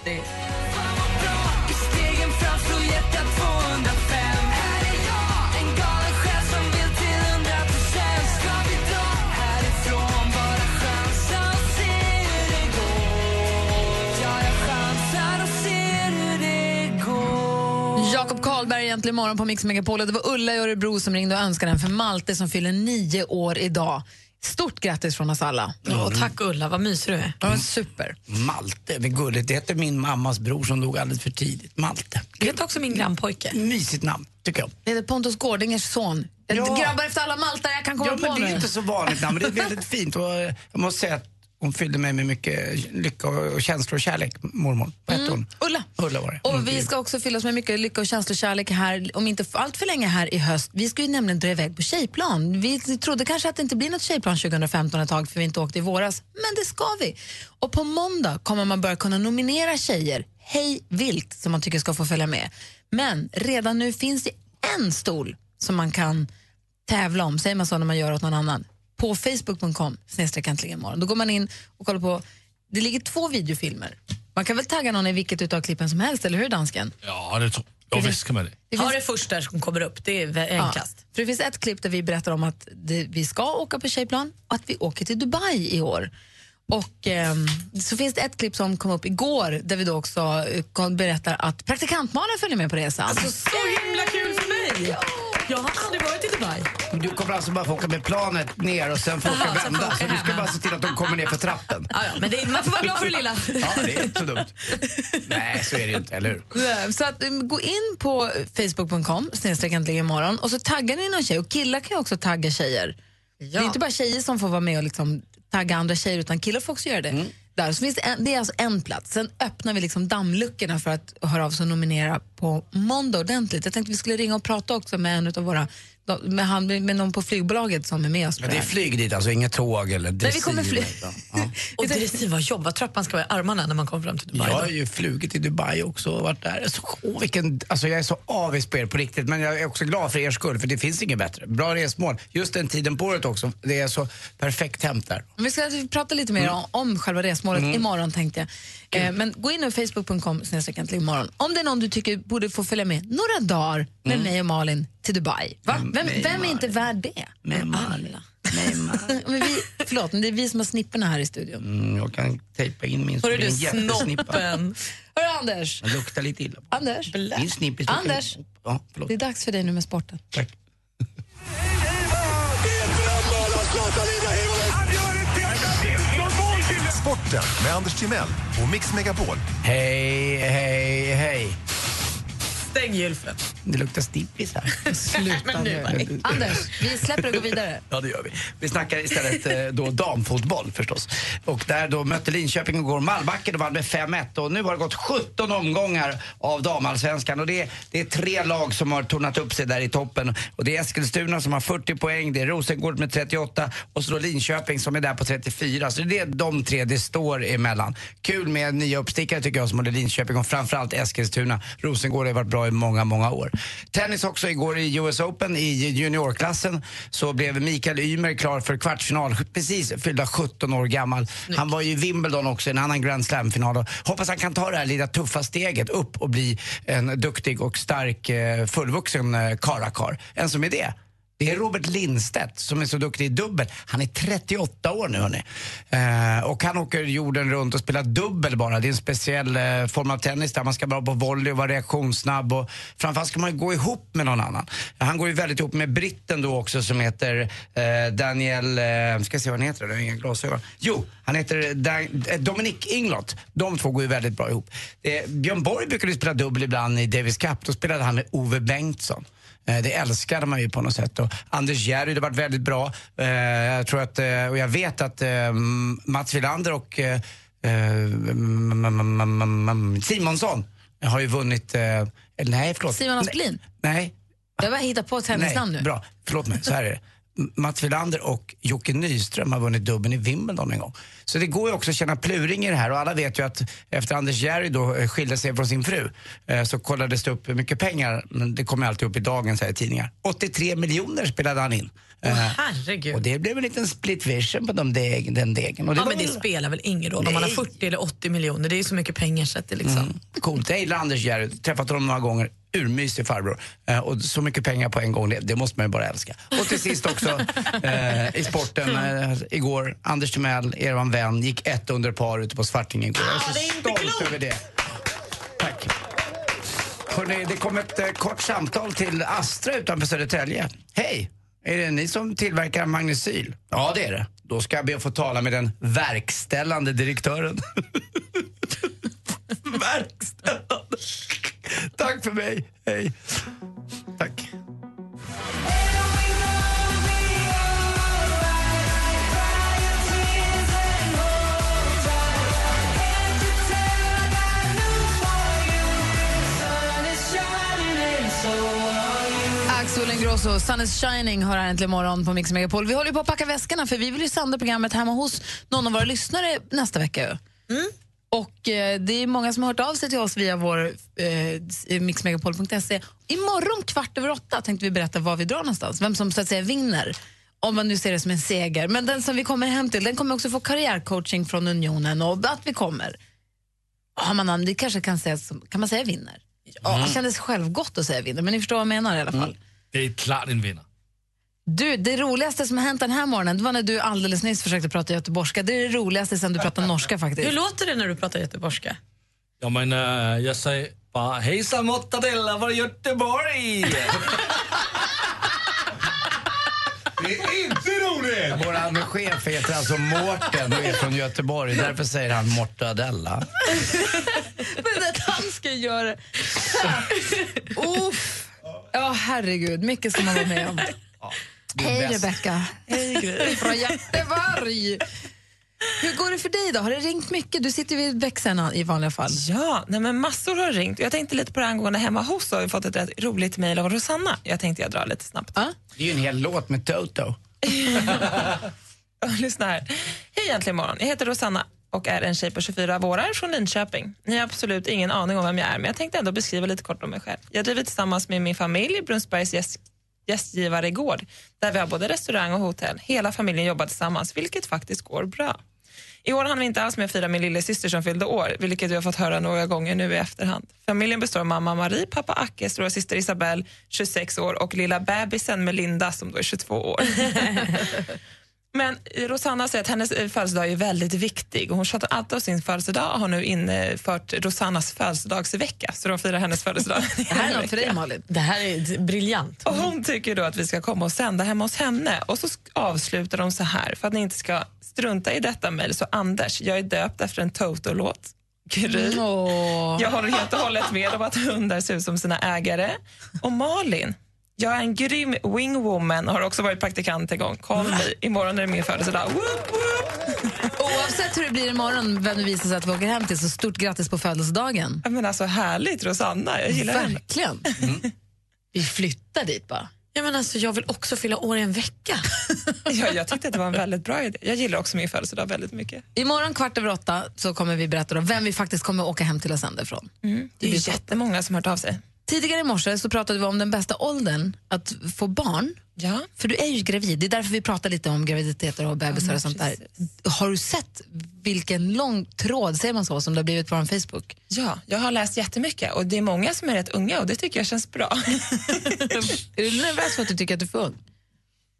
Jakob Karlberg egentligen morgon på Mix Megapol. Och Det var Ulla i Örebro som ringde och önskade den för Malte som fyller nio år idag. Stort grattis från oss alla.
Ja, tack Ulla, vad mysig du är.
Ja, super.
Malte, vad gulligt. Det heter min mammas bror som dog alldeles för tidigt. Malte.
Det heter också min grannpojke.
Mysigt namn, tycker jag.
Det är Pontus Gårdingers son.
Ja.
Grabbar efter alla Maltar jag kan komma
ja,
på
men det
nu.
är inte så vanligt namn, men det är väldigt fint. Och eh, jag måste säga att hon fyllde mig med mycket lycka och och känslor och kärlek, mormor. Vad hette hon?
Mm. Ulla.
Ulla var det. Mm.
Och vi ska också fylla oss med mycket lycka och känslokärlek här, om inte allt för länge här i höst. Vi ska ju nämligen dra iväg på tjejplan. Vi trodde kanske att det inte blir något tjejplan 2015 ett tag för vi inte åkte i våras, men det ska vi. Och på måndag kommer man börja kunna nominera tjejer hej vilt som man tycker ska få följa med. Men redan nu finns det en stol som man kan tävla om, säger man så när man gör åt någon annan, på facebook.com snedstreck äntligen morgon. Då går man in och kollar på, det ligger två videofilmer. Man kan väl tagga någon i vilket utav klippen som helst, eller hur dansken?
Ja, det tror jag. visst kan man det.
Mm.
Det
Ta det första som kommer upp, det är vä- enklast.
Ja, för det finns ett klipp där vi berättar om att det, vi ska åka på tjejplan och att vi åker till Dubai i år. Och ehm, så finns det ett klipp som kom upp igår där vi då också eh, kom- berättar att praktikantmannen följer med på resan.
Alltså, Så himla kul för mig! Jag har aldrig varit i Dubai.
Du kommer alltså bara få åka med planet ner och sen få åka
Jaha, sen får
vända.
åka
Så du ska
hem,
bara se till att de kommer ner för trappen.
Ja, ja, men det, man får vara glad för det lilla.
Ja, det är inte så dumt. Nej, så är det ju inte, eller hur?
Nej, Så att, um, gå in på facebook.com snedstreck äntligen imorgon och så taggar ni någon tjej. Och killar kan ju också tagga tjejer. Det är inte bara tjejer som får vara med och liksom tagga andra tjejer utan killar får också göra det.
Mm.
Där, så finns det, en, det är alltså en plats. Sen öppnar vi liksom dammluckorna för att höra av sig och nominera på måndag ordentligt. Jag tänkte vi skulle ringa och prata också med en av våra, med, han, med någon på flygbolaget som är med oss. på
Men det är
här.
flyg dit alltså, inget tåg eller
Nej, vi kommer
dressyr.
fly-
Och dressyr, vad jobb, vad trappan ska vara i armarna när man kommer fram till Dubai.
Jag har ju flugit till Dubai också och varit där. Så, åh, vilken, alltså jag är så avis på er på riktigt men jag är också glad för er skull för det finns inget bättre. Bra resmål. Just den tiden på året också. Det är så perfekt temp där.
Men Vi ska prata lite
Mm.
mer om, om själva resmålet imorgon tänkte jag. Eh, men gå in på facebook.com snedstreck äntligen imorgon. Om det är någon du tycker borde få följa med några dagar med
Mm.
mig och Malin till Dubai. Va? Vem,
mig och
vem är inte värd det?
Med Malin.
men vi, förlåt, men det är vi som har snipporna här i studion.
Mm, jag kan tejpa in min
Hörru,
så
du,
det blir en jättesnippa.
snoppen. Hörru Anders,
Den luktar lite illa.
Anders,
Min snippis luktar
Anders,
lite- Ja, förlåt.
det är dags för dig nu med sporten.
Tack.
Sporten med Anders Timell och Mix Megapol.
Hej, hej, hej.
Stäng gylfen.
Det luktar stippis här.
Sluta nu.
Marie.
Anders, vi släpper och går vidare.
Ja, det gör vi. Vi snackar istället eh, då damfotboll förstås. Och där då mötte Linköping igår Malbacken och vann med 5-1. Och nu har det gått 17 omgångar av damallsvenskan. Och det är, det är tre lag som har tornat upp sig där i toppen. Och det är Eskilstuna som har 40 poäng, det är Rosengård med 38 och så då Linköping som är där på 34. Så det är de tre det står emellan. Kul med nya uppstickare tycker jag som håller Linköping och framförallt Eskilstuna. Rosengård har varit bra i många, många år. Tennis också igår i US Open i juniorklassen så blev Mikael Ymer klar för kvartsfinal, precis fyllda 17 år gammal. Han var ju i Wimbledon också, i en annan Grand Slam-final. Och Hoppas han kan ta det här lilla tuffa steget upp och bli en duktig och stark eh, fullvuxen eh, karakar. En som är det. Det är Robert Lindstedt som är så duktig i dubbel. Han är 38 år nu hörni. Eh, och han åker jorden runt och spelar dubbel bara. Det är en speciell eh, form av tennis där man ska vara på volley och vara reaktionssnabb. Och framförallt ska man ju gå ihop med någon annan. Han går ju väldigt ihop med britten då också som heter eh, Daniel, eh, ska se vad han heter, jag har inga glasögon. Jo, han heter Dan, eh, Dominic Inglot. De två går ju väldigt bra ihop. Eh, Björn Borg brukade ju spela dubbel ibland i Davis Cup. Då spelade han med Ove Bengtsson. Eh, Det älskade man ju på något sätt. Och Anders Jerry, det har varit väldigt bra. Eh, Jag tror att, eh, och jag vet att eh, Mats Wilander och eh, eh, mm, mm, mm, mm, Simonsson har ju vunnit, eh, eller nej förlåt.
Simon Asplin?
Nej,
Jag bara hittar på ett tennisnamn
Nej,
nu.
Bra, förlåt mig. Så här är det. M- Mats Wilander och Jocke Nyström har vunnit dubbeln i Wimbledon en gång. Så det går ju också att känna pluring i det här och alla vet ju att efter Anders Jerry då eh, skilde sig från sin fru eh, så kollades det upp hur mycket pengar, men det kommer alltid upp i dagens här i tidningar. 83 miljoner spelade han in. Eh,
Herregud.
och det blev en liten split vision på de deg, den degen. Och
ja,
var
men det
väl-
spelar väl ingen roll om man har
Nej.
40 eller 80 miljoner. Det är ju så mycket pengar så att det liksom...
Mm. Coolt. Jag gillar Anders Järryd. Träffat honom några gånger. Urmysig farbror. Eh, och så mycket pengar på en gång, det, det måste man ju bara älska. Och till sist också eh, i sporten eh, igår. Anders Timell, er vän, gick ett under par ute på Svartingen igår. Jag är så stolt över det. Tack. Hörrni, det kom ett eh, kort samtal till Astra utanför Södertälje. Hej! Är det ni som tillverkar Magnecyl? Ja, det är det. Då ska jag be att få tala med den verkställande direktören. verkställande. Tack för mig. Hej. Tack.
Axel Ingrosso, Sun is shining, hör här äntligen morgon på Mix Megapol. Vi håller ju på att packa väskorna för vi vill ju sända programmet hemma hos någon av våra lyssnare nästa vecka. ju. Och eh, det är många som har hört av sig till oss via vår eh, mixmegapol.se. Imorgon kvart över åtta tänkte vi berätta var vi drar någonstans, vem som så att säga vinner. Om man nu ser det som en seger. Men den som vi kommer hem till, den kommer också få karriärcoaching från Unionen och att vi kommer. Har man namn, det kanske kan sägas, som- kan man säga vinner? Ja,
Mm.
Det kändes självgott att säga vinner, men ni förstår vad jag menar i alla fall.
Det är klart en vinnare.
Du, det roligaste som har hänt den här morgonen det var när du alldeles nyss försökte prata göteborgska. Det är det roligaste sen du pratade norska faktiskt.
Hur låter det när du pratar göteborgska?
Jag menar, jag säger bara hejsan mortadella från Göteborg!
Det är inte roligt!
Vår chef heter alltså Mårten och är från Göteborg. Därför säger han Mortadella.
Men att han ska göra Uff. Ja, herregud. Mycket ska man vara med om.
det är
Hej,
bäst.
Rebecka. Hej, Från Göteborg. Hur går det för dig då? Har det ringt mycket? Du sitter vid växeln i vanliga fall.
Ja, nej men massor har ringt. Jag tänkte lite på det här angående hemma hos så har vi fått ett rätt roligt mejl av Rosanna. Jag tänkte jag drar lite snabbt.
Det är ju en hel låt med Toto.
Lyssna här. Hej Äntligen morgon. Jag heter Rosanna och är en tjej på 24 vårar från Linköping. Ni har absolut ingen aning om vem jag är men jag tänkte ändå beskriva lite kort om mig själv. Jag driver tillsammans med min familj Brunnsbergs gäst, gästgivaregård där vi har både restaurang och hotell. Hela familjen jobbar tillsammans vilket faktiskt går bra. I år hann vi inte alls med att fira min lillasyster som fyllde år, vilket vi har fått höra några gånger nu i efterhand. Familjen består av mamma Marie, pappa Acke, stora syster Isabelle, 26 år och lilla bebisen Melinda som då är 22 år. Men Rosanna säger att hennes eh, födelsedag är väldigt viktig och hon tjatar alltid om sin födelsedag och har nu infört Rosannas födelsedagsvecka så de firar hennes födelsedag. Det
här är något för dig,
Malin.
Det här är briljant. Och hon tycker då att vi ska komma och sända hemma hos henne och så sk- avslutar de så här för att ni inte ska strunta i detta mejl så Anders, jag är döpt efter en Toto-låt. Gry.
Mm.
Åh.
Jag håller helt och hållet med om att hundar ser ut som sina ägare. Och Malin, jag är en grym wingwoman och har också varit praktikant en gång. Kom vi, imorgon är det min födelsedag. Woop, woop.
Oavsett hur det blir imorgon, vem det visar sig att vi åker hem till, så stort grattis på födelsedagen.
Men alltså härligt Rosanna, jag gillar Mm. henne.
Verkligen. Vi flyttar dit bara.
Ja, men alltså, jag vill också fylla år i en vecka.
ja, jag tyckte att det var en väldigt bra idé. Jag gillar också min födelsedag väldigt mycket.
Imorgon kvart över åtta så kommer vi berätta då vem vi faktiskt kommer åka hem till och sända ifrån.
Mm. Det är ju jättemånga som har hört av sig.
Tidigare i morse så pratade vi om den bästa åldern att få barn.
Ja.
För du är ju gravid. Det är därför vi pratar lite om graviditeter och bebisar och sånt där. Har du sett vilken lång tråd, säger man så, som det har blivit på vår Facebook?
Ja, jag har läst jättemycket och det är många som är rätt unga och det tycker jag känns bra.
är du nervös för att du tycker att du är för ung?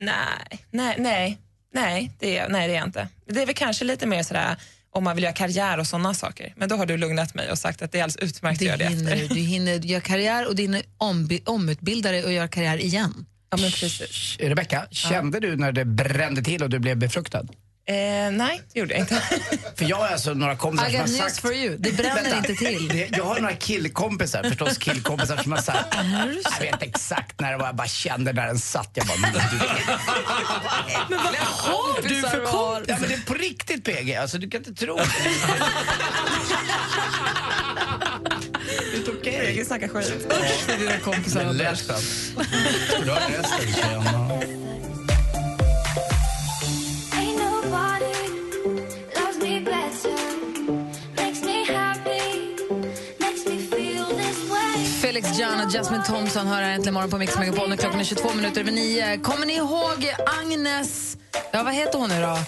Nej, nej, nej, nej, det är, nej, det är jag inte. Det är väl kanske lite mer sådär om man vill göra karriär och sådana saker. Men då har du lugnat mig och sagt att det är alldeles utmärkt att göra det
hinner du.
efter.
Du hinner göra karriär och du hinner ombi- omutbilda dig och göra karriär igen.
Ja, men precis.
Rebecka, kände du när det brände till och du blev befruktad?
Eh, nej, det gjorde jag inte.
För jag har alltså några kompisar
I
som
got
har
news
sagt...
for you. Det bränner
Vänta.
inte till.
Det- Jag har några killkompisar, förstås killkompisar som har sagt...
Är det
Jag vet exakt när det var, jag bara kände när den satt. Jag bara, men du
Men vad har
du för kompisar? Ja, men det är på riktigt PG, alltså du kan inte tro det. Det är okej.
Jag snackar skit.
Dina kompisar
Det lät skönt. Ska du ha resten? så jag har-
Felix Jan och Jasmine Thompson hör här äntligen morgon på Mix Megapol. Nu Klockan är 22 minuter över nio. Kommer ni ihåg Agnes... Ja, vad heter hon nu då?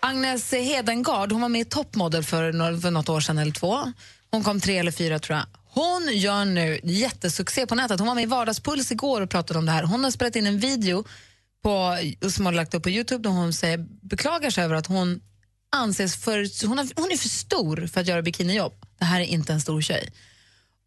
Agnes Hedengard. Hon var med i Topmodel för, några- för något år sedan eller två. Hon kom tre eller fyra tror jag. Hon gör nu jättesuccé på nätet. Hon var med i Vardagspuls igår och pratade om det här. Hon har spelat in en video på, som hon har lagt upp på Youtube där hon säger, beklagar sig över att hon anses för... Hon, har, hon är för stor för att göra bikinijobb. Det här är inte en stor tjej.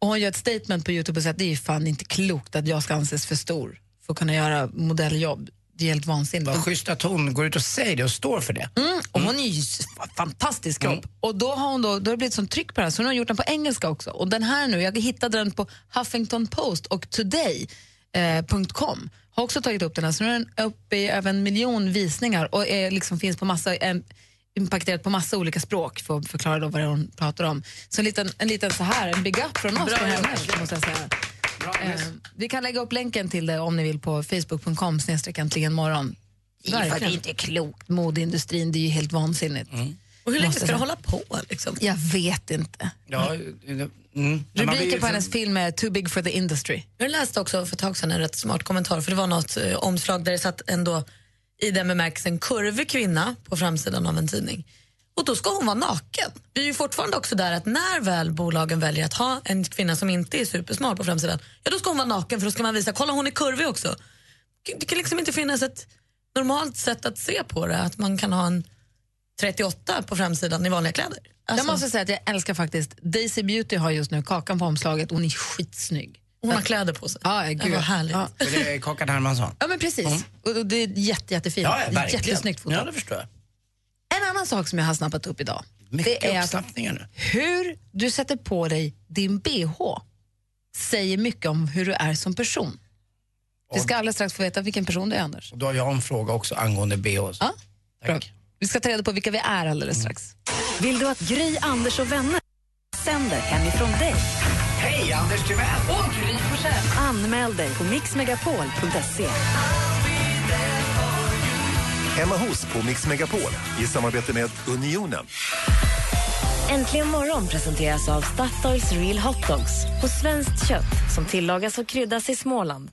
Och hon gör ett statement på Youtube och säger att det är ju fan inte klokt att jag ska anses för stor för att kunna göra modelljobb. Det är helt vansinnigt.
Vad schysst att hon går ut och säger det och står för det.
Mm, och hon är ju s- fantastisk kropp. Och då har, hon då, då har det blivit sån tryck på det här, så hon har gjort den på engelska också. Och den här nu, jag hittade den på Huffington Post och today.com. har också tagit upp den här, så nu är den uppe i över en miljon visningar och är, liksom, finns på massa, är impakterad på massa olika språk för att förklara då vad det är hon pratar om. Så en liten, en liten så här, en big up från oss till henne, måste jag säga. Eh, vi kan lägga upp länken till det om ni vill på facebook.com snedstreck äntligen morgon. Det är ju för- det är inte klokt. Modeindustrin, det är ju helt vansinnigt.
Mm. Och hur länge
Måste
ska det
jag
hålla på? liksom?
säga. Jag vet inte.
Ja, mm. Men man blir ju
Rubriken på
för-
typ hennes film är Too big for the industry.
Jag läste också för ett tag sedan en rätt smart kommentar för det var något eh, omslag där det satt ändå i den bemärkelsen kurvig kvinna på framsidan av en tidning. Och då ska hon vara naken. Vi är ju fortfarande också där att när väl bolagen väljer att ha en kvinna som inte är supersmal på framsidan, ja då ska hon vara naken för då ska man visa, kolla hon är kurvig också. Det kan liksom inte finnas ett normalt sätt att se på det, att man kan ha en 38 på framsidan i vanliga kläder. Alltså-
Jag måste säga att jag älskar faktiskt, Daisy Beauty har just nu kakan på omslaget hon är skitsnygg.
Hon har kläder på sig.
Ja, gud.
Ja, vad härligt.
Ja.
För det är Kakan Hermansson.
Ja, men precis. Och- Och det är jätte, jättefint.
Mm. Ja, ja, verkligen.
Jättesnyggt foto.
Ja, det förstår jag.
En annan sak som jag har snappat upp idag.
Mycket
det är att
uppsnappningar nu.
hur du sätter på dig din bh säger mycket om hur du är som person. Vi ska alldeles strax få veta vilken person du är, Anders.
Och Då har jag en fråga också angående BH.
Ja, bra. Vi ska ta reda på vilka vi är
Mm.
alldeles strax.
Vill du att Gry, Anders och vänner sänder hemifrån dig?
Hej, Anders Timell!
Och Gry Forssell. Anmäl dig på mixmegapol.se.
Hemma hos på Mix Megapol i samarbete med Unionen.
Äntligen morgon presenteras av Statoils Real Hot Dogs på svenskt kött som tillagas och kryddas i Småland.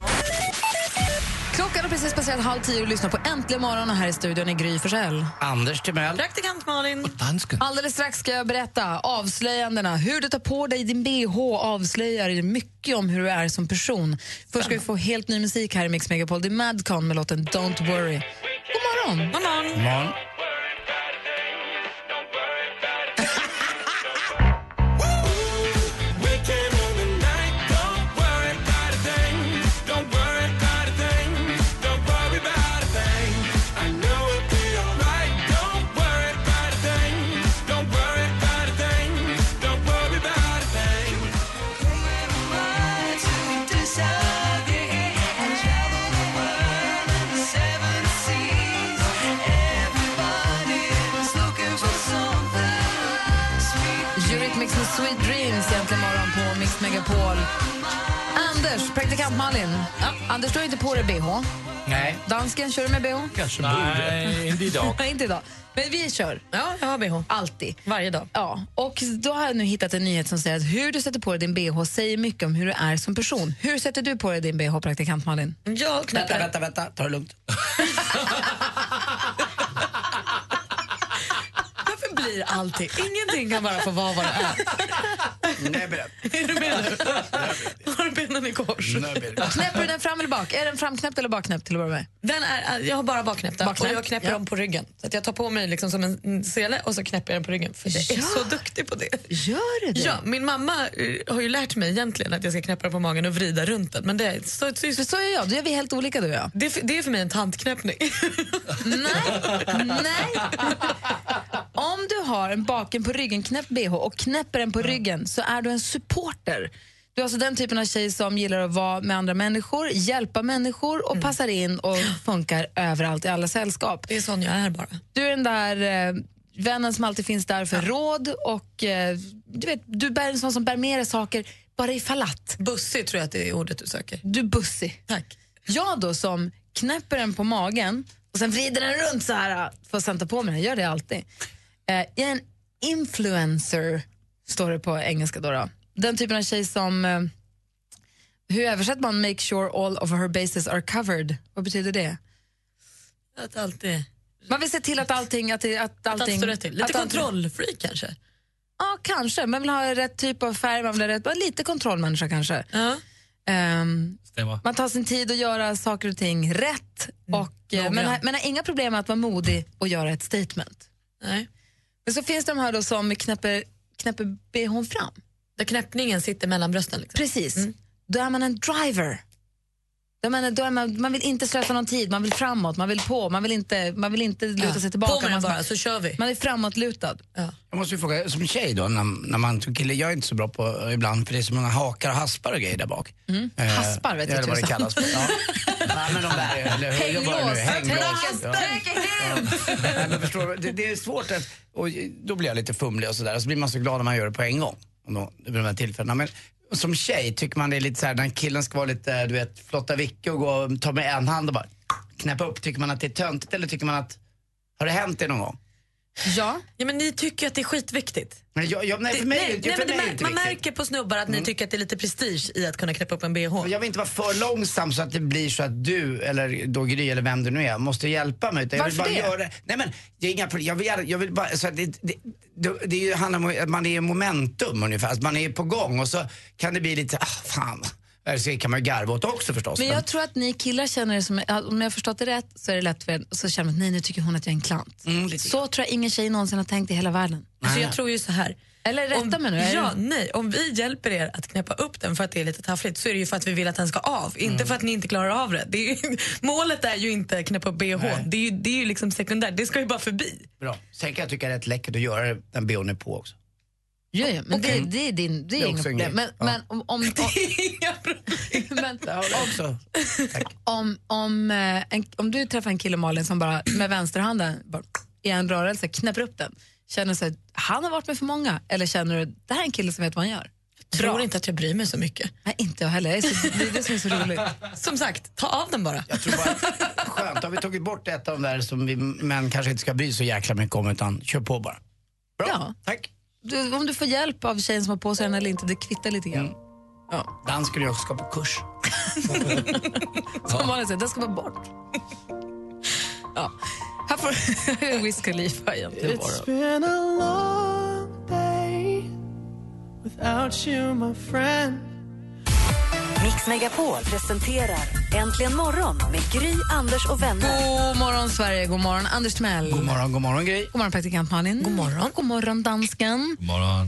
Klockan har precis passerat halv tio och lyssnar på Äntligen morgon och här i studion är Gry Forssell.
Anders Timell.
Praktikant Malin.
Alldeles strax ska jag berätta avslöjandena. Hur du tar på dig din bh avslöjar mycket om hur du är som person. Först ska vi få helt ny musik här i Mix Megapol. Det är Madcon med låten Don't Worry. God morgon!
God morgon!
Morgon.
Don't
Mix med Sweet Dreams egentligen morgon på Mix Megapol. Anders, praktikant Malin. Anders, du har inte på dig bh.
Nej.
Dansken, kör du med bh?
Kanske
Nej, Eh, inte idag.
Nej, inte idag. Men vi kör. Ja, jag har bh. Alltid. Varje dag. Ja, och då har jag nu hittat en nyhet som säger att hur du sätter på dig din bh säger mycket om hur du är som person. Hur sätter du på dig din bh, praktikant Malin?
Jag
Vänta, vänta, vänta. Ta det lugnt.
Varför blir allting? Ingenting kan bara få vara vad det är.
Nej, berätta.
Är du med nu? Har du benen i kors?
Mm. Knäpper du den fram eller bak? Är den framknäppt eller bakknäppt till att börja med?
Den är, jag har bara bakknäppt den och
Bakknäppt,
jag knäpper
ja.
dem på ryggen. Så att jag tar på mig liksom som en sele och så knäpper jag den på ryggen. För jag är
Ja.
så duktig på det.
Gör du det?
Ja, min mamma eh, har ju lärt mig egentligen att jag ska knäppa den på magen och vrida runt den. Men det, så, så, så,
så är jag, då är vi helt olika du och jag.
Det, är för- det är för mig en tantknäppning.
Om du har en baken på ryggen knäppt bh och knäpper den på ryggen så är du en supporter. Du är alltså den typen av tjej som gillar att vara med andra människor, hjälpa människor och passar in och funkar överallt i alla sällskap.
Det är sån jag är bara.
Du är den där eh, vännen som alltid finns där för råd och eh, du, vet, du bär en sån som bär med dig saker bara i fallatt.
Bussig tror jag att det är ordet du söker.
Du är bussig.
Tack.
Jag då som knäpper den på magen och sen vrider den runt så här äh, för att sätta på mig den. Jag gör det alltid. Eh, jag är en influencer, står det på engelska då. då. Den typen av tjej som... Eh, hur översätter man make sure all of her bases are covered? Vad betyder det?
Att alltid...
Man vill se till att allting... Att, det- att
Att
allting
allt står rätt till. Lite
att allt-
kontrollfreak kanske.
Ja, kanske. Man vill ha rätt typ av färg, man vill ha rätt, lite kontrollmänniska kanske. Ehm,
Stämmer.
man tar sin tid att göra saker och ting rätt,
Mm.
och, eh, men,
Noggrann.
har, men har inga problem med att vara modig och göra ett statement.
Nej.
Men så finns de här då som knäpper, knäpper bhn fram.
Där knäppningen sitter mellan brösten. Liksom.
Precis. Då är man en driver. Då är man, då är man, man vill inte slösa någon tid, man vill framåt, man vill på, man vill inte, man vill inte luta
Ja.
sig tillbaka.
På med den
man,
bara, så kör vi.
Man är framåtlutad.
Jag måste ju fråga, som tjej då, när, när man som kille, jag är inte så bra på eh, ibland för det är så många hakar och haspar och grejer där bak.
Mm.
Eh,
Haspar vet jag
Eller vad det
tusan.
kallas. Ja. Nej, men de där, eller hur? Jag börjar nu. Hänglås. Ja. Nej, men förstår du, det, det är svårt att, och då blir jag lite fumlig och sådär. Och så blir man så glad när man gör det på en gång. Om då, vid de här tillfällena. Men som tjej tycker man det är lite så här när killen ska vara lite, du vet, flotta Vicke och gå och ta med en hand och bara knäppa upp. Tycker man att det är töntigt eller tycker man att, har det hänt det någon gång?
Ja.
ja men ni tycker att det är skitviktigt.
Nej, jag, jag, nej, för
Det-
mig,
nej,
är det-
nej,
för
men det
mig är det
mär-
inte
man
viktigt.
märker på snubbar att ni tycker att det är lite prestige i att kunna knäppa upp en bh.
Jag vill inte vara för långsam så att det blir så att du, eller då Gry, eller vem det nu är, måste hjälpa mig. Utan jag vill bara
Varför det?
Göra, nej men, det är inga problem. Jag vill, gärna- jag vill bara, så att det, det, det, det är ju- handlar om att man är i momentum ungefär. Att man är på gång och så kan det bli lite så här, ah, fan. Eller så kan man ju garva åt också förstås.
Men jag tror att ni killar känner det som, om jag har förstått det rätt, så är det lätt för er, så känner man att nej, nu tycker hon att jag är en klant.
Mm,
så tror jag ingen tjej någonsin har tänkt i hela världen.
Alltså, jag tror ju så här.
Eller rätta
om,
mig nu. är
Ja,
det-
nej. Om vi hjälper er att knäppa upp den för att det är lite taffligt så är det ju för att vi vill att den ska av. Inte för att ni inte klarar av det. det är ju, målet är ju inte att knäppa upp bh. Det är ju, det är ju liksom sekundärt. Det ska ju bara förbi.
Bra. Sen kan jag tycka det är rätt läckert att göra det när bhn är på också.
Ja, ja, men
Okej.
det, det är din, det
Det är
är inga
också en
problem. Men,
grej. Ja.
men om, om, men,
också.
om, om, eh, en, om du träffar en kille, Malin, som bara med vänsterhanden bara, i en rörelse knäpper upp den, känner du så att han har varit med för många? Eller känner du det här är en kille som vet vad han gör?
Jag tror inte att jag bryr mig så mycket.
Nej, inte jag heller. Jag är så, det är det som är så roligt.
Som sagt, ta av den bara.
Skönt, har vi tagit bort ett av de där som vi män kanske inte ska bry så jäkla mycket om utan kör på bara. Bra, tack.
Du, om du får hjälp av tjejen som har på sig den eller inte, det kvittar lite grann.
Mm.
Dan skulle jag också ska på kurs.
Som vanligt, säger, den ska vara bort. ja. Här får Wiz Khalifa egentligen vara.
It's been a long day without you my friend
Mix Megapol presenterar Äntligen morgon med Gry, Anders och vänner.
God morgon, Sverige. God morgon, Anders Timell. God
morgon, god morgon, Gry.
God morgon, praktikant Malin. God morgon. God morgon, dansken.
Morgon.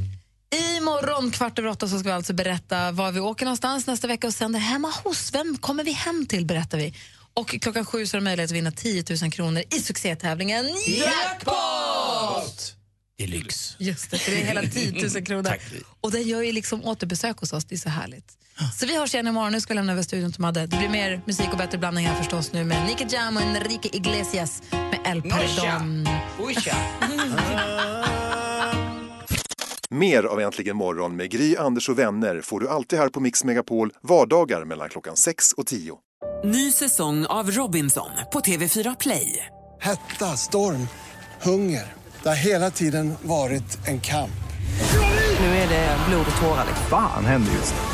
Imorgon kvart över åtta så ska vi alltså berätta var vi åker någonstans nästa vecka och sänder hemma hos. Vem kommer vi hem till berättar vi. Och klockan sju så har du möjlighet att vinna 10 000 kronor i succétävlingen
Jackpot!
Det är lyx.
Just det, för det är hela 10 000 kronor. Och den gör ju liksom återbesök hos oss, det är så härligt. Så vi hörs igen imorgon. Nu ska vi lämna över studion till Madde. Det blir mer musik och bättre blandning här förstås nu med Nicky Jam och Enrique Iglesias med El Perdón.
Usha.
Mer av Äntligen morgon med Gry, Anders och vänner får du alltid här på Mix Megapol vardagar mellan klockan 6 och 10.
Ny säsong av Robinson på TV4 Play.
Hetta, storm, hunger. Det har hela tiden varit en kamp.
Nu är det blod och tårar. liksom.
Fan händer just nu.